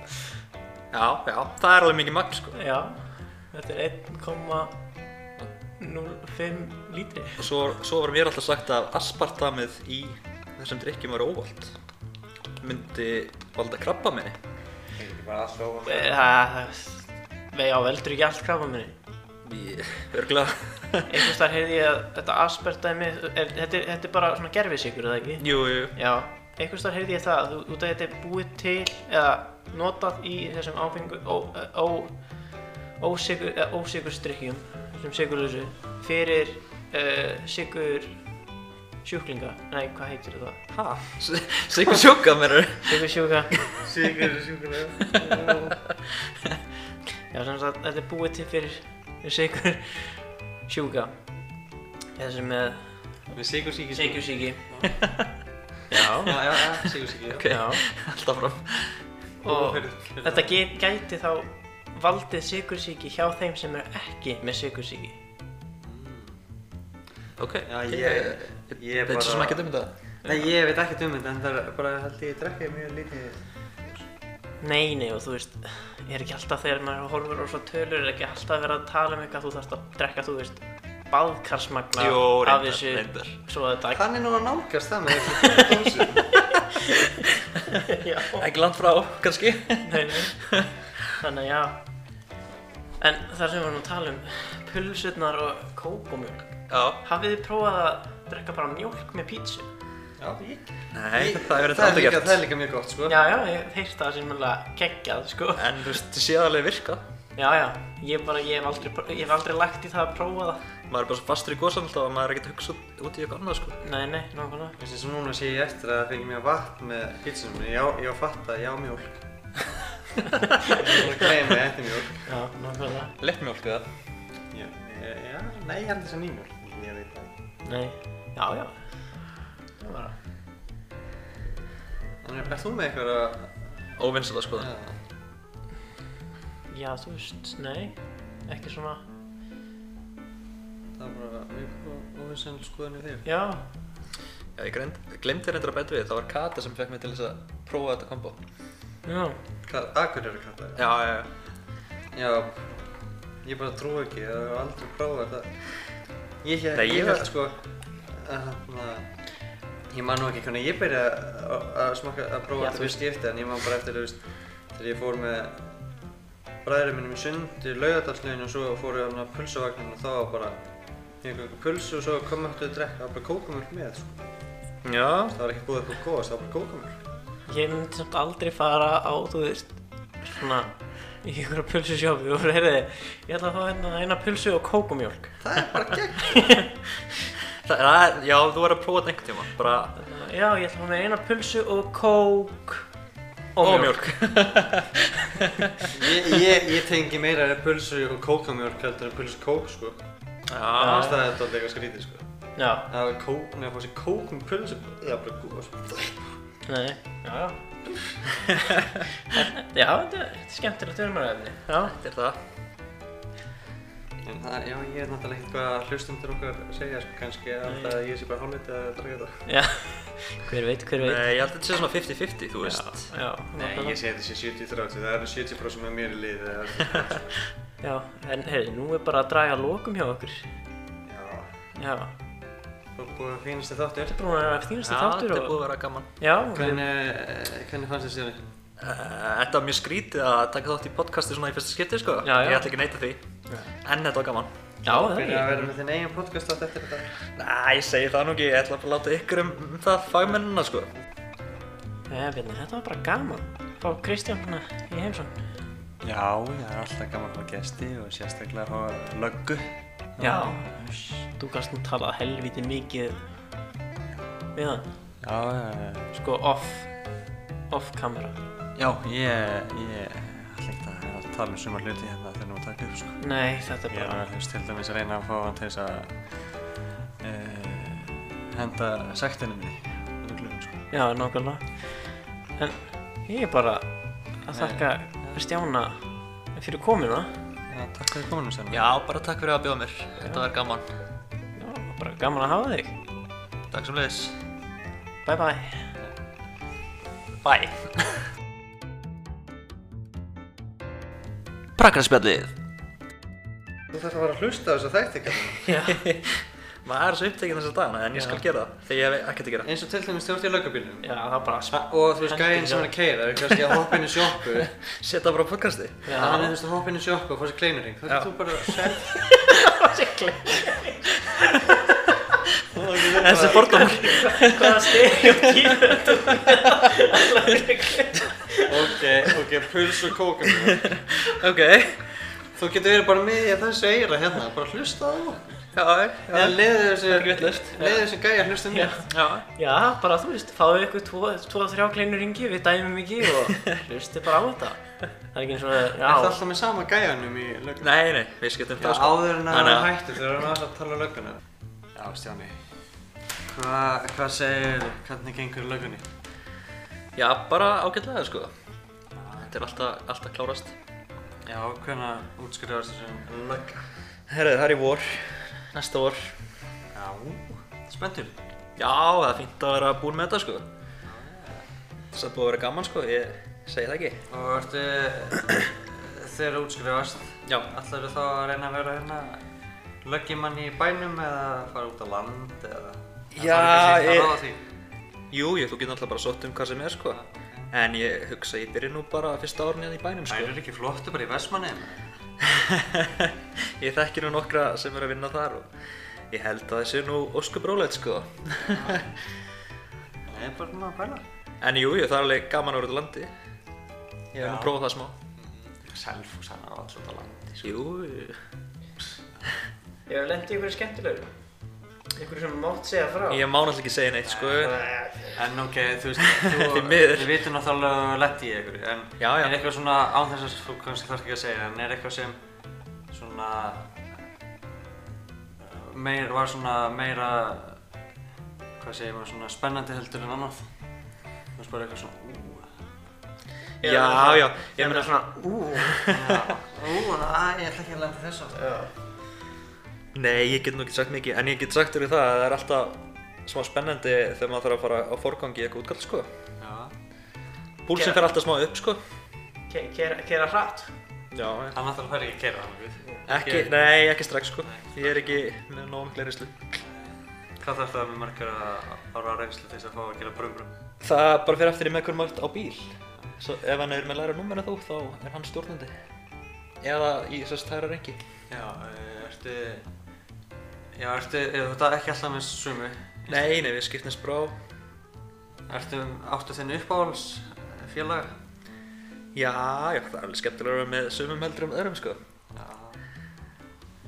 [SPEAKER 3] Já, já, það er alveg mikið magn sko
[SPEAKER 1] Já, þetta er 1,05 lítri.
[SPEAKER 3] Og svo, svo var mér alltaf sagt að aspartamið í þessum drikkjum var óvald myndi valda krabba minni
[SPEAKER 2] Þetta er ekki bara allt ofan
[SPEAKER 1] Eh, Það, það, já, veldur ekki allt krafa minni.
[SPEAKER 3] Örgulega
[SPEAKER 1] einhvers þar heyrði ég að þetta aspertæmi, er, þetta, er- þetta er bara svona gerfisíkur, eða ekki?
[SPEAKER 3] Jú, jú
[SPEAKER 1] Já, einhvers þar heyrði ég það, þú, út af þetta er búið til eða notað í þessum áfengu, ó, ó, ósigur, eða ósigurstrykkjum, þessum sigurlösu, fyrir uh, sigur sjúklinga, nei, hvað heitir það?
[SPEAKER 3] Hæ? Sigur sjúka mér
[SPEAKER 1] Sigur sjúka,
[SPEAKER 2] Sigur, sjúkulega
[SPEAKER 1] já, sem sagt, þetta er búið til fyrir sigur sjúka, þessum með
[SPEAKER 2] Við sigur síkir
[SPEAKER 1] sigur síki. Já,
[SPEAKER 2] Já, já, já, sigur síkir
[SPEAKER 3] Ok.
[SPEAKER 1] já.
[SPEAKER 3] Alltaf fram
[SPEAKER 1] og þetta ge- gæti þá valdið sykursíki hjá þeim sem eru ekki með sykursíki.
[SPEAKER 3] Ok
[SPEAKER 2] Já, ég- ég
[SPEAKER 3] Þetta er
[SPEAKER 2] bara-
[SPEAKER 3] svo sem ekki dæmið það
[SPEAKER 2] Nei, ég veit ekkert um þetta en það er bara held ég drekkið mjög lítið
[SPEAKER 1] Nei, nei, og þú veist, er ekki alltaf þegar maður horfur á svo tölur, er ekki alltaf verið að tala um eitthvað, þú þarfst að drekka, þú veist, baðkarsmagna
[SPEAKER 3] Jú,
[SPEAKER 1] af
[SPEAKER 3] reyndar,
[SPEAKER 1] þessu,
[SPEAKER 3] reyndar
[SPEAKER 1] svo að þetta,
[SPEAKER 2] Þannig nú að nálgast það með þessu dósum
[SPEAKER 1] já,
[SPEAKER 3] Ekki land frá, kannski
[SPEAKER 1] nei, nei, þannig að já. En þar sem við vorum að tala um pulsurnar og kópumjólk,
[SPEAKER 3] Já
[SPEAKER 1] hafið þið prófað að drekka bara mjólk með pítsu?
[SPEAKER 2] Já, ég
[SPEAKER 3] Nei,
[SPEAKER 2] Ég-
[SPEAKER 3] það
[SPEAKER 2] það
[SPEAKER 3] er þetta aldrei
[SPEAKER 2] líka-
[SPEAKER 3] gert
[SPEAKER 2] Það er líka mjög gott, sko.
[SPEAKER 1] Já, já, ég heyrti það sem mjög geggjað, sko.
[SPEAKER 3] En þú veist, það sé aðalega virka
[SPEAKER 1] Já, já, ég bara, ég hef aldrei, pr- ég hef aldrei lagt í það að prófa það.
[SPEAKER 3] Maður er bara svo fastur í góðsan alltaf að maður er ekkert að hugsa út- út í eitthvað annað sko
[SPEAKER 1] Nei, nei, nákvæmlega.
[SPEAKER 2] Þessi sem núna sé ég eftir að það fengi mér vatn með pítsunum minni. Já, ég á fatta, já mjólk. ég er bara að gleyma ég eftir mjólk.
[SPEAKER 1] Já, nákvæmlega.
[SPEAKER 3] Lettmjólk eða?
[SPEAKER 2] Já, ég- Eh, já, nei, ég held þess að nýmjólk. Ég veit það ekki.
[SPEAKER 1] Nei, já, já. Það var það.
[SPEAKER 2] En er Eh, þú með eitthvað að...
[SPEAKER 3] Óvinnsala sko
[SPEAKER 2] Já.
[SPEAKER 1] Já, þú veist, nei, ekki svona,
[SPEAKER 2] Það var bara mjög óvinsenn skoðinu þér.
[SPEAKER 1] já,
[SPEAKER 3] Já, ég greind, glemdi reyndar að bæta við, það var Kata sem fekk mig til þess að prófa þetta kombo.
[SPEAKER 1] já.
[SPEAKER 2] Hvað, akkur eru kallar?
[SPEAKER 3] Já, já, já.
[SPEAKER 2] Já, ég bara trú ekki, það hefur aldrei prófað það. Ég held,
[SPEAKER 3] Nei,
[SPEAKER 2] ég,
[SPEAKER 3] ég
[SPEAKER 2] held
[SPEAKER 3] var-
[SPEAKER 2] sko, að hérna, ég man nú ekki hvernig ég byrjaði að- að smakka, að prófa
[SPEAKER 1] Já,
[SPEAKER 2] þetta
[SPEAKER 1] þú
[SPEAKER 2] fyrst skipti, en ég man bara eftir, þú veist, þegar ég fór með bræðurinn minnum í sund í Laugardalslaugin og svo fór ég þarna á pulsavagnin og þá var bara ég einhver pulsu og svo kom eftir að drekka, það var bara kókumjölk með, sko.
[SPEAKER 3] Já.
[SPEAKER 2] Það var ekki búið eitthvað góðast, það var bara kókumjölk.
[SPEAKER 1] Ég myndi samt aldrei fara á, þú veist, svona, í einhverja pulsusjófi og heyrði, ég ætla að fá hérna eina pulsu og kókumjólk.
[SPEAKER 2] Það er bara gegn.
[SPEAKER 3] Það það er,
[SPEAKER 1] Hérna,
[SPEAKER 3] já, þú verður að prófa þetta einhvern tíma, bara,
[SPEAKER 1] Já, ég ætla að fá mér eina pulsu og kók. og
[SPEAKER 3] Og
[SPEAKER 1] mjólk.
[SPEAKER 3] mjólk.
[SPEAKER 2] Ég, ég, ég tengi meira að pulsu og kókamjólk heldur en pulsu kók sko. Það
[SPEAKER 1] Já.
[SPEAKER 2] er staðið þetta alltaf skrítið sko.
[SPEAKER 1] Já,
[SPEAKER 2] Það er kók, nefnir að fá sér kók með pulsu, það er bara góð sko.
[SPEAKER 1] nei. Já, já. já, þetta er þetta er skemmtilegt umræðinni. Já.
[SPEAKER 3] Þetta er það.
[SPEAKER 2] En það, já, ég er náttúrulega eitthvað að hlustundur okkar segja sko kannski að það ég sé bara hálfnit að draga þetta.
[SPEAKER 1] Já, hver veit, hver veit.
[SPEAKER 3] Nei, ég held að þetta sé svona 50-50, þú veist.
[SPEAKER 1] Já, já, nákvæmlega.
[SPEAKER 2] segi þetta sé 70-30, það eru 70% með mér í liði, það er
[SPEAKER 1] já, en heyrðu, nú er bara að draga lókum hjá okkur.
[SPEAKER 2] Já.
[SPEAKER 1] Já,
[SPEAKER 2] Það er búið að finnast þið þáttur.
[SPEAKER 1] þetta er búin að vera fínasti þáttur
[SPEAKER 3] þetta er
[SPEAKER 1] og...
[SPEAKER 3] búið að vera gaman.
[SPEAKER 1] Já, við...
[SPEAKER 2] Hvernig, eh, hvernig fannst þið sér?
[SPEAKER 3] Eh, Þetta var mjög skrítið að taka þátt í podcasti svona í fyrsta skipti, sko.
[SPEAKER 1] Já, já.
[SPEAKER 3] Ég ætla ekki að neita því. En þetta var gaman.
[SPEAKER 1] já, það er
[SPEAKER 2] Fyrir að
[SPEAKER 1] ég.
[SPEAKER 2] vera með þinn eigin podcast átt eftir þetta.
[SPEAKER 3] Næ, ég segi það nú ekki. Ég ætla bara að láta ykkur um um það fagmennina, sko.
[SPEAKER 1] Nei, Bjarni, þetta var bara gaman. Fá Kristján hérna í heimsón.
[SPEAKER 2] Já, það er alltaf gaman að fá gesti og sérstaklega að fá löggu.
[SPEAKER 1] Já. Þú kannst nú talað helviti mikið við hann.
[SPEAKER 2] Já, já,
[SPEAKER 1] Sko, off, off kamera.
[SPEAKER 2] já, ég, ég ætla ekki að vera að tala um suma hluti hérna þegar við taka upp, sko.
[SPEAKER 1] Nei, þetta er
[SPEAKER 2] Ég er
[SPEAKER 1] bara...
[SPEAKER 2] að hefst til dæmis að reyna að fá hann til þess að uh, henda sektinu minni, lögglum, sko.
[SPEAKER 1] Já, nákvæmlega. En ég er bara að þakka Kristjána fyrir komuna.
[SPEAKER 2] Já, takk fyrir kominum sérna.
[SPEAKER 3] Já, bara takk fyrir að bjóða mér. Þetta var gaman.
[SPEAKER 1] Já, bara gaman að hafa þig.
[SPEAKER 3] Takk sem leiðis.
[SPEAKER 1] Bye bye.
[SPEAKER 3] Bye. Prakkarspjallið.
[SPEAKER 2] Þú þarf að fara að hlusta á þess að þætti, kannan.
[SPEAKER 3] Maður er svo upptekinn þessar dagana, en ég skal gera það. Þegar ég hef ekkert að gera.
[SPEAKER 2] Eins og til dæmis þú ert í löggubílnum.
[SPEAKER 1] Já, það er bara sp...
[SPEAKER 2] Og þú veist, gæinn sem er að keira, er kannski að hoppa inn í sjoppu.
[SPEAKER 3] Setta bara á podcasti.
[SPEAKER 1] Já.
[SPEAKER 2] Hann er þú veist að hoppa inn í sjoppu og fá sér kleinuring. Þá
[SPEAKER 3] Já.
[SPEAKER 2] getur þú bara sett.
[SPEAKER 3] Þessi fordómar.
[SPEAKER 1] Hvaða stereotyp er þetta?
[SPEAKER 2] Ok, ok, puls og kókamjólk.
[SPEAKER 3] ok.
[SPEAKER 2] Þú getur verið bara með í þessu eira hérna, bara hlusta á það.
[SPEAKER 3] Já,
[SPEAKER 2] Eða
[SPEAKER 3] já.
[SPEAKER 2] leiðu þessu,
[SPEAKER 3] ekki vitlaust.
[SPEAKER 2] leiðu þessu gæja að hlusta um það.
[SPEAKER 3] Já.
[SPEAKER 1] Já, bara þú veist, fáðu ykkur tvo, tvo þrjá kleinur ringi, við dæmum ekki og hlustu bara á þetta. Það er ekki eins og að,
[SPEAKER 2] Er það
[SPEAKER 1] já,
[SPEAKER 2] alltaf með sama gæjanum í lögguna?
[SPEAKER 3] Nei, nei, við skiptum
[SPEAKER 2] Já,
[SPEAKER 3] það sko.
[SPEAKER 2] áður en að
[SPEAKER 3] Þannig
[SPEAKER 2] það
[SPEAKER 3] að-
[SPEAKER 2] hættu þegar hann alltaf að tala um lögguna. Já, Stjáni. Hvað, hvað segir, hvernig gengur í löggunni?
[SPEAKER 3] Já, bara ágætlega sko.
[SPEAKER 2] Ah.
[SPEAKER 3] Þetta er alltaf, alltaf klárast.
[SPEAKER 2] Já, hvernig útskriðast þessum lögga?
[SPEAKER 3] Herðu, það er í vor, næsta vor.
[SPEAKER 2] Já, spenntur.
[SPEAKER 3] Já, það er fínt að vera búinn með þetta sko. Það er búið að vera gaman sko, ég segi það ekki.
[SPEAKER 2] Og ertu, þegar útskriðast,
[SPEAKER 3] Já.
[SPEAKER 2] ætlar þú þá að reyna að vera hérna löggimann í bænum eða fara út á land eða?
[SPEAKER 3] Já,
[SPEAKER 2] það er kannski
[SPEAKER 3] ég-
[SPEAKER 2] eitthvað ráð á því.
[SPEAKER 3] Jú, ég, þú getur náttúrulega bara sótt um hvað sem er sko. En ég hugsa að ég byrja nú bara fyrsta árun hérna í bænum
[SPEAKER 2] Það
[SPEAKER 3] sko.
[SPEAKER 2] eru ekki flottu bara í Vestmanneim.
[SPEAKER 3] ég þekki nú nokkra sem er að vinna þar og ég held að það sé nú óskup rólegt sko.
[SPEAKER 2] Það er bara svona að pæla.
[SPEAKER 3] en jú, jú, það er alveg gaman að vera út á landi. Ég hef nú
[SPEAKER 2] Já.
[SPEAKER 3] prófað það smá.
[SPEAKER 2] Selfos hann á alltaf á landi.
[SPEAKER 3] Jú, jú.
[SPEAKER 1] ég hef lendið ykkur skemmtilegur. Ykkur sem mátt segja frá.
[SPEAKER 3] ég má náttúrulega ekki segja neitt sko.
[SPEAKER 2] En ok, þú veist, þú,
[SPEAKER 3] Því miður.
[SPEAKER 2] við vitum náttúrulega að þú lett í ykkur, en
[SPEAKER 3] Já, já.
[SPEAKER 2] er eitthvað svona, án þess að þú kannski þarf ekki að segja, en er eitthvað sem svona, eh, meir, var svona meira, hvað segir maður, svona spennandi heldur en annað? Þú veist bara eitthvað svona, ú,
[SPEAKER 1] Ég-
[SPEAKER 3] Já, já,
[SPEAKER 1] Ég meina svona, ú,
[SPEAKER 2] ú, að, ég ætla ekki að lenda þess aftur.
[SPEAKER 1] já.
[SPEAKER 3] Nei, ég get nú ekki sagt mikið, en ég get sagt fyrir það að það er alltaf smá spennandi þegar maður þarf að fara á forgangi í eitthvað útkall, sko.
[SPEAKER 2] Já,
[SPEAKER 3] Púlsinn
[SPEAKER 1] Gera-
[SPEAKER 3] fer alltaf smá upp, sko.
[SPEAKER 1] Ke- Kera kera hratt.
[SPEAKER 3] Já,
[SPEAKER 2] hann náttúrulega fær ekki að gera það, við.
[SPEAKER 3] ekki,
[SPEAKER 2] Ekki-
[SPEAKER 3] nei, ekki strax, sko. Ég er ekki með nóg mikla reynslu.
[SPEAKER 2] Hvað þarf það með margar ára reynslu til þess að fá að gera brum-brum?
[SPEAKER 3] Það bara fer eftir í með hvernig maður á bíl. Svo ef hann er með læra númer en þú, þá er hann stjórnandi. Eða í sérst hæra rengi.
[SPEAKER 2] Já, eh, ertu, já, ertu, er þetta ekki alltaf með sumu?
[SPEAKER 3] Nei, nei, við skiptumst brá.
[SPEAKER 2] Ertu, um áttu þinn uppáhalds eh, félag?
[SPEAKER 3] Já, já, það er alveg skemmtilega að vera með sumum heldur um öðrum, sko.
[SPEAKER 2] Já.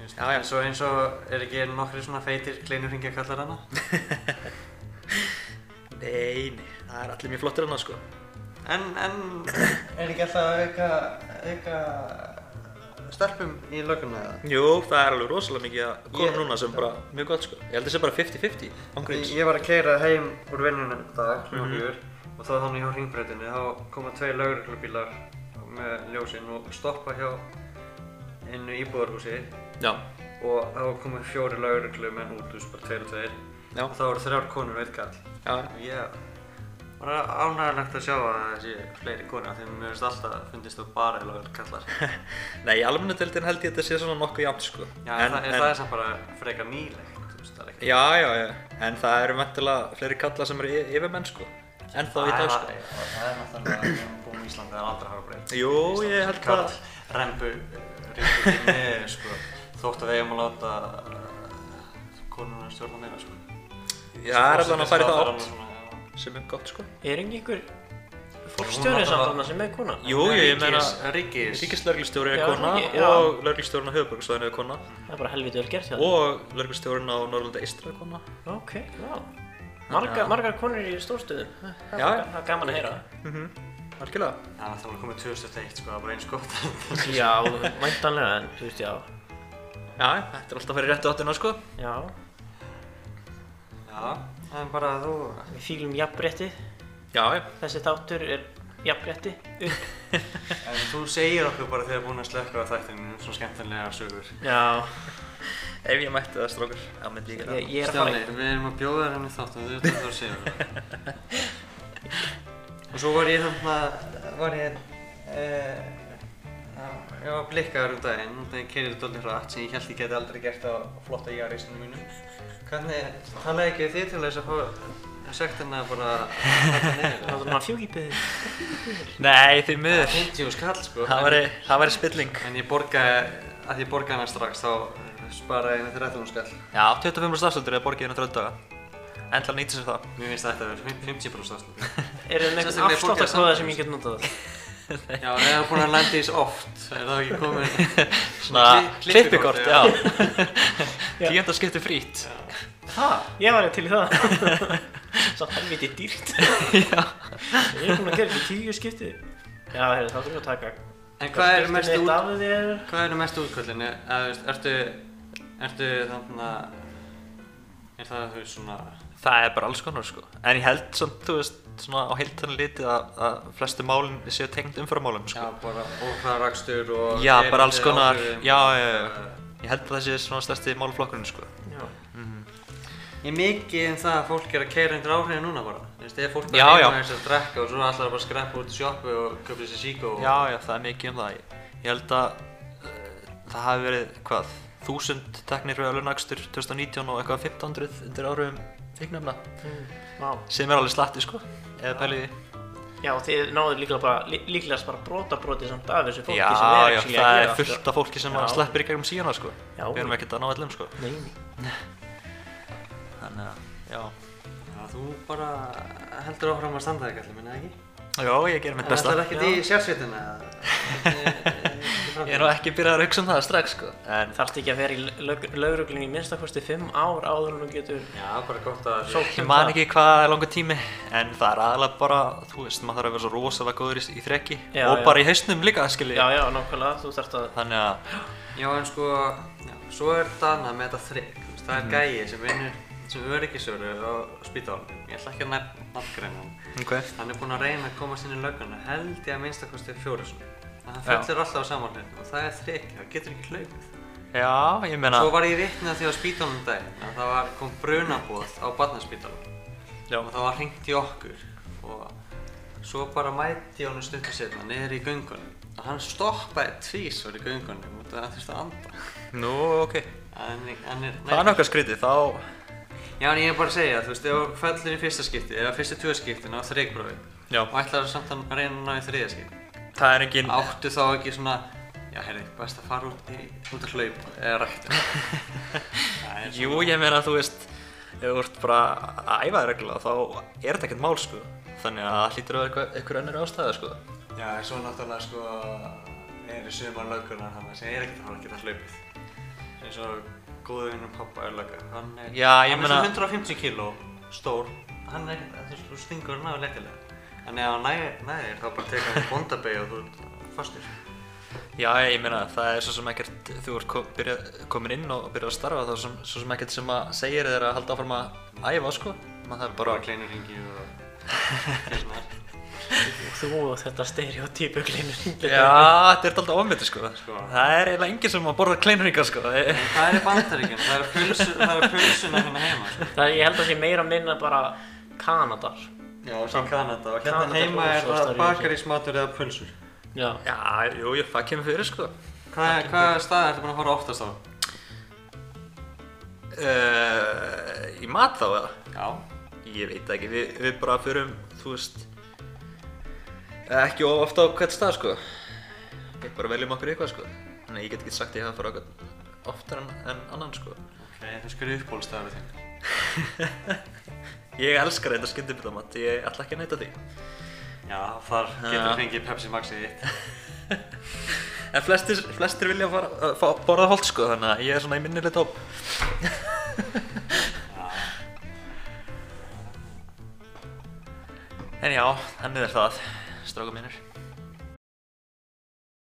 [SPEAKER 2] Just,
[SPEAKER 3] Já, já.
[SPEAKER 2] Eins og, eins og, er ekki nokkri svona feitir kleinurringja kallar hana?
[SPEAKER 3] Nei, nei, það er allir mjög flottir annað, sko.
[SPEAKER 2] En, en, er ekki alltaf að auka, auka stelpum í löguna eða?
[SPEAKER 3] Jú, það er alveg rosalega mikið að konum
[SPEAKER 2] Ég-
[SPEAKER 3] núna sem bara, mjög gott sko. Ég held þessi bara 50-50, ángríns.
[SPEAKER 2] Ég var að keira heim úr vinnunum einn dag, klukkan fjögur, og þá þannig hjá hringbreytinni, þá koma tvei lauruglubílar með ljósinn og stoppa hjá innu íbúðarhúsi
[SPEAKER 3] Já,
[SPEAKER 2] og þá komu fjóri lauruglumenn út, þú veist, bara tveir og tveir.
[SPEAKER 3] já,
[SPEAKER 2] Og þá voru þrjár konur og einn kall.
[SPEAKER 3] já,
[SPEAKER 2] Og ég var ánægilegt að sjá að það sé fleiri konur, af því að mér finnst alltaf, finnst þú bara lauruglukallar.
[SPEAKER 3] Nei, í almennudeldin held ég að þetta sé svona nokkuð jafn sko.
[SPEAKER 2] Já, en, það, en, það er samt bara frekar nýlegt, þú veist, það er ekki...
[SPEAKER 3] Já, já, já, en það eru mentilega fleiri kalla sem eru y- yfirmenn sko. En þá í dag sko.
[SPEAKER 2] Það er náttúrulega að við búum í Íslandi að aldrei hafa breytt.
[SPEAKER 3] Jú, ég held að-
[SPEAKER 2] Karl, rembu, eh, ríkjum í neðu, sko. Þótt að við eigum að láta uh, konuna stjórna meira, sko.
[SPEAKER 3] Já, það er alveg að fara í það átt,
[SPEAKER 2] átt.
[SPEAKER 3] sem er gott sko.
[SPEAKER 1] Er ekki einhver fólkstjóri samt
[SPEAKER 2] Hún alltaf-
[SPEAKER 1] þarna sem er kona?
[SPEAKER 3] Jú, jú, ég meina,
[SPEAKER 2] Ríkis, ríkis.
[SPEAKER 3] ríkislörglistjóri er
[SPEAKER 1] Já,
[SPEAKER 3] kona
[SPEAKER 1] ég- já.
[SPEAKER 3] og lörglistjórinn á höfuborgsvæðinu er kona
[SPEAKER 1] Það er bara helviti vel gert hjá það.
[SPEAKER 3] og lörglistjórinn á Norrlanda Eistra er kona.
[SPEAKER 1] Ok, já. Margar, margar konur í stórstöðum. Það
[SPEAKER 3] Já.
[SPEAKER 1] er- það er gaman að heyra.
[SPEAKER 3] Mhm, algjörlega.
[SPEAKER 2] Það er náttúrulega komið 2001, sko, það er bara eins gott.
[SPEAKER 1] Já, mæntanlega, en þú veist, já.
[SPEAKER 3] Já, þetta er alltaf að fara í réttu áttuna sko.
[SPEAKER 1] Já,
[SPEAKER 2] Já, en bara þú...
[SPEAKER 1] við fýlum jafnbretti.
[SPEAKER 3] Já, já.
[SPEAKER 1] Þessi þáttur er jafnbretti. upp.
[SPEAKER 2] En þú segir okkur bara þegar búin að slökka á þættinu, svona skemmtilega sögur.
[SPEAKER 1] Já,
[SPEAKER 3] Ef ég mætti það strókur, þá myndi ég gera
[SPEAKER 1] ég,
[SPEAKER 3] það.
[SPEAKER 1] ég er að fara
[SPEAKER 2] Stjáni,
[SPEAKER 1] í.
[SPEAKER 2] við erum að bjóða þér henni þátt og þú ert að það að segja það. Og svo var ég þannig að, var ég, eh, að- ég var blikkaður um daginn, þannig að ég kerði dólið hratt sem ég held ég geti aldrei gert á flotta jarðisinu mínu. Hvernig, talaði ekki þið til þess að fá sektina bara að þetta
[SPEAKER 1] Það
[SPEAKER 2] neyður?
[SPEAKER 1] er svona fjúkipiðið.
[SPEAKER 3] Nei, því miður.
[SPEAKER 2] 50 skall sko.
[SPEAKER 3] Það væri, það væri spilling.
[SPEAKER 2] En ég borgaði, að ég borgaði hana strax, þá sparaði ég henni 13 skall.
[SPEAKER 3] Já, 25 stafsöldur eða borgið hérna 30 daga. Endla nýtið sér það.
[SPEAKER 2] Mér finnst þetta að vera 50% afslut.
[SPEAKER 1] Er það með einhvern
[SPEAKER 2] Sérstaklega í fólki að
[SPEAKER 1] afsláttarkóða
[SPEAKER 2] samsæris.
[SPEAKER 1] sem ég get notað?
[SPEAKER 2] Já, ef það er búin að landa í þessu oft, er það ekki komið
[SPEAKER 3] Svona
[SPEAKER 2] kli-
[SPEAKER 3] klippikort, já.
[SPEAKER 1] Já.
[SPEAKER 3] Tíunda skipti frýtt.
[SPEAKER 1] Hæ? Ég var til í það. Samt helviti dýrt. Ég er búinn að gera þetta í tíu skipti. Já, heyrðu, þá þurfum við að taka.
[SPEAKER 2] En hvað eru
[SPEAKER 1] út?
[SPEAKER 2] mestu, út,
[SPEAKER 1] Af þér.
[SPEAKER 2] hvað eru mestu útkvöldin? Eða, þú veist, ertu, ertu þannig að, er það, þú veist, svona,
[SPEAKER 3] Það er bara alls konar, sko. En ég held samt, þú veist, svona á heiltan litið að, að flestu málinn séu tengd umframálinn,
[SPEAKER 2] já,
[SPEAKER 3] sko.
[SPEAKER 2] bara óhraðrakstur og...
[SPEAKER 3] Já,
[SPEAKER 2] erindi
[SPEAKER 3] bara alls konar,
[SPEAKER 2] áhrifin?
[SPEAKER 3] já, já, já. Ég held að það sé svona stærsti málflokkurinn, sko.
[SPEAKER 1] Já.
[SPEAKER 2] Ég er mikið um það að fólk er að keira undir áhrifin núna bara. Þú veist, ef fólk
[SPEAKER 3] Já,
[SPEAKER 2] bara
[SPEAKER 3] já.
[SPEAKER 2] heima þess að drekka og svo allar bara að skreppa út í sjoppu og köpa sér síkó og...
[SPEAKER 3] Já, já, það er mikið um það. Ég- Ég held að uh, það hafi verið, hvað, 1000 teknir fyrir launakstur 2019 og eitthvað 1500 undir áhrifum fíknefna
[SPEAKER 1] Mm. Vá.
[SPEAKER 3] sem er alveg slatti, sko, eða pæliði.
[SPEAKER 1] Já, og þið náðu líklega bara, lí- líklegast bara brotabroti samt af þessu fólki
[SPEAKER 3] Já,
[SPEAKER 1] sem er
[SPEAKER 3] já,
[SPEAKER 1] actually að
[SPEAKER 3] það
[SPEAKER 1] gera
[SPEAKER 3] er fullt af fólki sem
[SPEAKER 1] Já.
[SPEAKER 3] að sleppir í gegnum síðana, sko.
[SPEAKER 1] Já.
[SPEAKER 3] Við erum ekkert að ná allum, sko.
[SPEAKER 1] Nei, nei.
[SPEAKER 3] Þannig að, já.
[SPEAKER 2] Já, þú bara heldur áfram að standa þig, kallið minna, ekki?
[SPEAKER 3] Já, ég gerir mitt
[SPEAKER 2] En
[SPEAKER 3] besta.
[SPEAKER 2] ætlar ekkert í sérsveitina?
[SPEAKER 3] Ég er nú ekki byrjað að hugsa um það strax, sko. En
[SPEAKER 1] Þarfst ekki að vera í lauruglinni í minnstakosti 5 ár áður en þú getur
[SPEAKER 2] Já, bara gott að
[SPEAKER 1] sótt
[SPEAKER 3] ég
[SPEAKER 1] um
[SPEAKER 3] man
[SPEAKER 1] það.
[SPEAKER 3] ekki hvað er langur tími, en það er aðalega bara, þú veist, maður þarf að vera svo rosalega góður í, í þrekki
[SPEAKER 1] Já,
[SPEAKER 3] og
[SPEAKER 1] já.
[SPEAKER 3] bara í hausnum líka, skilji.
[SPEAKER 1] Já, já, nákvæmlega, þú þarft að...
[SPEAKER 3] Þannig að,
[SPEAKER 2] Já, en sko, já, svo er Dana með þetta þrygg, þú veist, það
[SPEAKER 3] Mhm.
[SPEAKER 2] er gæi sem vinnur sem öryggisöru á spítalunum, ég ætla ekki að nefna nafngreina hann.
[SPEAKER 3] ok.
[SPEAKER 2] Hann er búinn að reyna að komast inn í lögguna, held ég að minnstakosti fjóru svona. En hann
[SPEAKER 3] Já.
[SPEAKER 2] fellur alltaf á samanlinn og það er þrygg, það getur ekki hlaupið.
[SPEAKER 3] Já, ég meina
[SPEAKER 2] Svo var ég vitni að því á spítalunum daginn að það var, kom brunabóð á barnaspítalunum
[SPEAKER 3] Já.
[SPEAKER 2] og það var hringt í okkur og svo bara mæti ég honum stuttu setna niður í göngunum og hann stoppaði tvísvar í göngunum út af að hann þurfti að anda.
[SPEAKER 3] Nú, ok
[SPEAKER 2] En, en, en,
[SPEAKER 3] Það er nokkað skrítið, þá
[SPEAKER 2] Já, en ég er bara að segja, þú veist, ef þú fellur í fyrsta skipti, eða fyrstu tvö skiptin á þreikbrófi
[SPEAKER 3] Já
[SPEAKER 2] og ætlar þú samt að reyna að ná í þriðja skipti,
[SPEAKER 3] Það er engin
[SPEAKER 2] áttu þá ekki svona, já, heyrðu, best að fara út, í, út að hlaup eða rækta. Það er
[SPEAKER 3] Jú, ég meina, þú veist Ef þú ert bara að æfa þér reglulega þá er þetta ekkert mál, sko Þannig að það hlýtur að vera eitthvað- einhver önnur ástæða, sko
[SPEAKER 2] Já, en svo náttúrulega, sko, eru sumar löggunar hann sem er ekkert að fara að geta hlaupið. Eins og góðu vinnum pappa er lögga, hann er,
[SPEAKER 3] Já, ég
[SPEAKER 2] hann
[SPEAKER 3] meina-
[SPEAKER 2] er svo 150 kíló, stór, hann er, þú veist, þú stingur hann af lekkilega. En ef hann næ- næðir þá bara tekur hann bóndabegi og þú ert fastur.
[SPEAKER 3] Já, ég meina, það er svo sem ekkert, þú ert kom, byrja, komin inn og byrjað að starfa, þá er svo, svo sem ekkert sem að segir þér að halda áfram að æfa, sko. Maður þarf bara
[SPEAKER 2] Bara kleinur hringi og... Hérna.
[SPEAKER 1] Þú og þetta stereotypu kleinur
[SPEAKER 3] Já, þetta er alltaf ofmyndi, sko.
[SPEAKER 2] Sko.
[SPEAKER 3] Það er eiginlega enginn sem að borða kleinringa, sko.
[SPEAKER 2] En Það er í bandaríkjum, það er pulsu, það er pulsuna hérna heima, sko.
[SPEAKER 1] Það ég held að sé meira minna bara Kanadar
[SPEAKER 2] Já, og svo Kanada. Og
[SPEAKER 1] Kanada
[SPEAKER 2] hérna heima
[SPEAKER 1] og
[SPEAKER 2] er
[SPEAKER 1] svo
[SPEAKER 2] það
[SPEAKER 1] Star Union.
[SPEAKER 2] bakarísmatur eða pulsur.
[SPEAKER 1] Já
[SPEAKER 3] Já, jú, jú, það kemur fyrir, sko.
[SPEAKER 2] Hvað, hvað stað ertu búin að fara oftast á?
[SPEAKER 3] Uh, í mat þá, eða?
[SPEAKER 2] Já.
[SPEAKER 3] Ég veit það ekki, við, við bara förum, þú veist, ekki of ofta á hvert stað, sko. Við bara veljum okkur eitthvað, sko. Þannig að ég get ekki sagt að ég hafa farið okkur oftar en, en annan, sko.
[SPEAKER 2] Ok, þú skurði uppbólstaður þinn.
[SPEAKER 3] Ég elskar þetta skyndibitamat, ég ætla ekki að neyta því.
[SPEAKER 2] Já, þar getur
[SPEAKER 3] Já.
[SPEAKER 2] þú fengið Pepsi Maxið þitt.
[SPEAKER 3] En flestir, flestir vilja fara, uh, fá, borða holt, sko, þannig að ég er svona í minnileg tóp. en já, þannig er það, stráka mínir.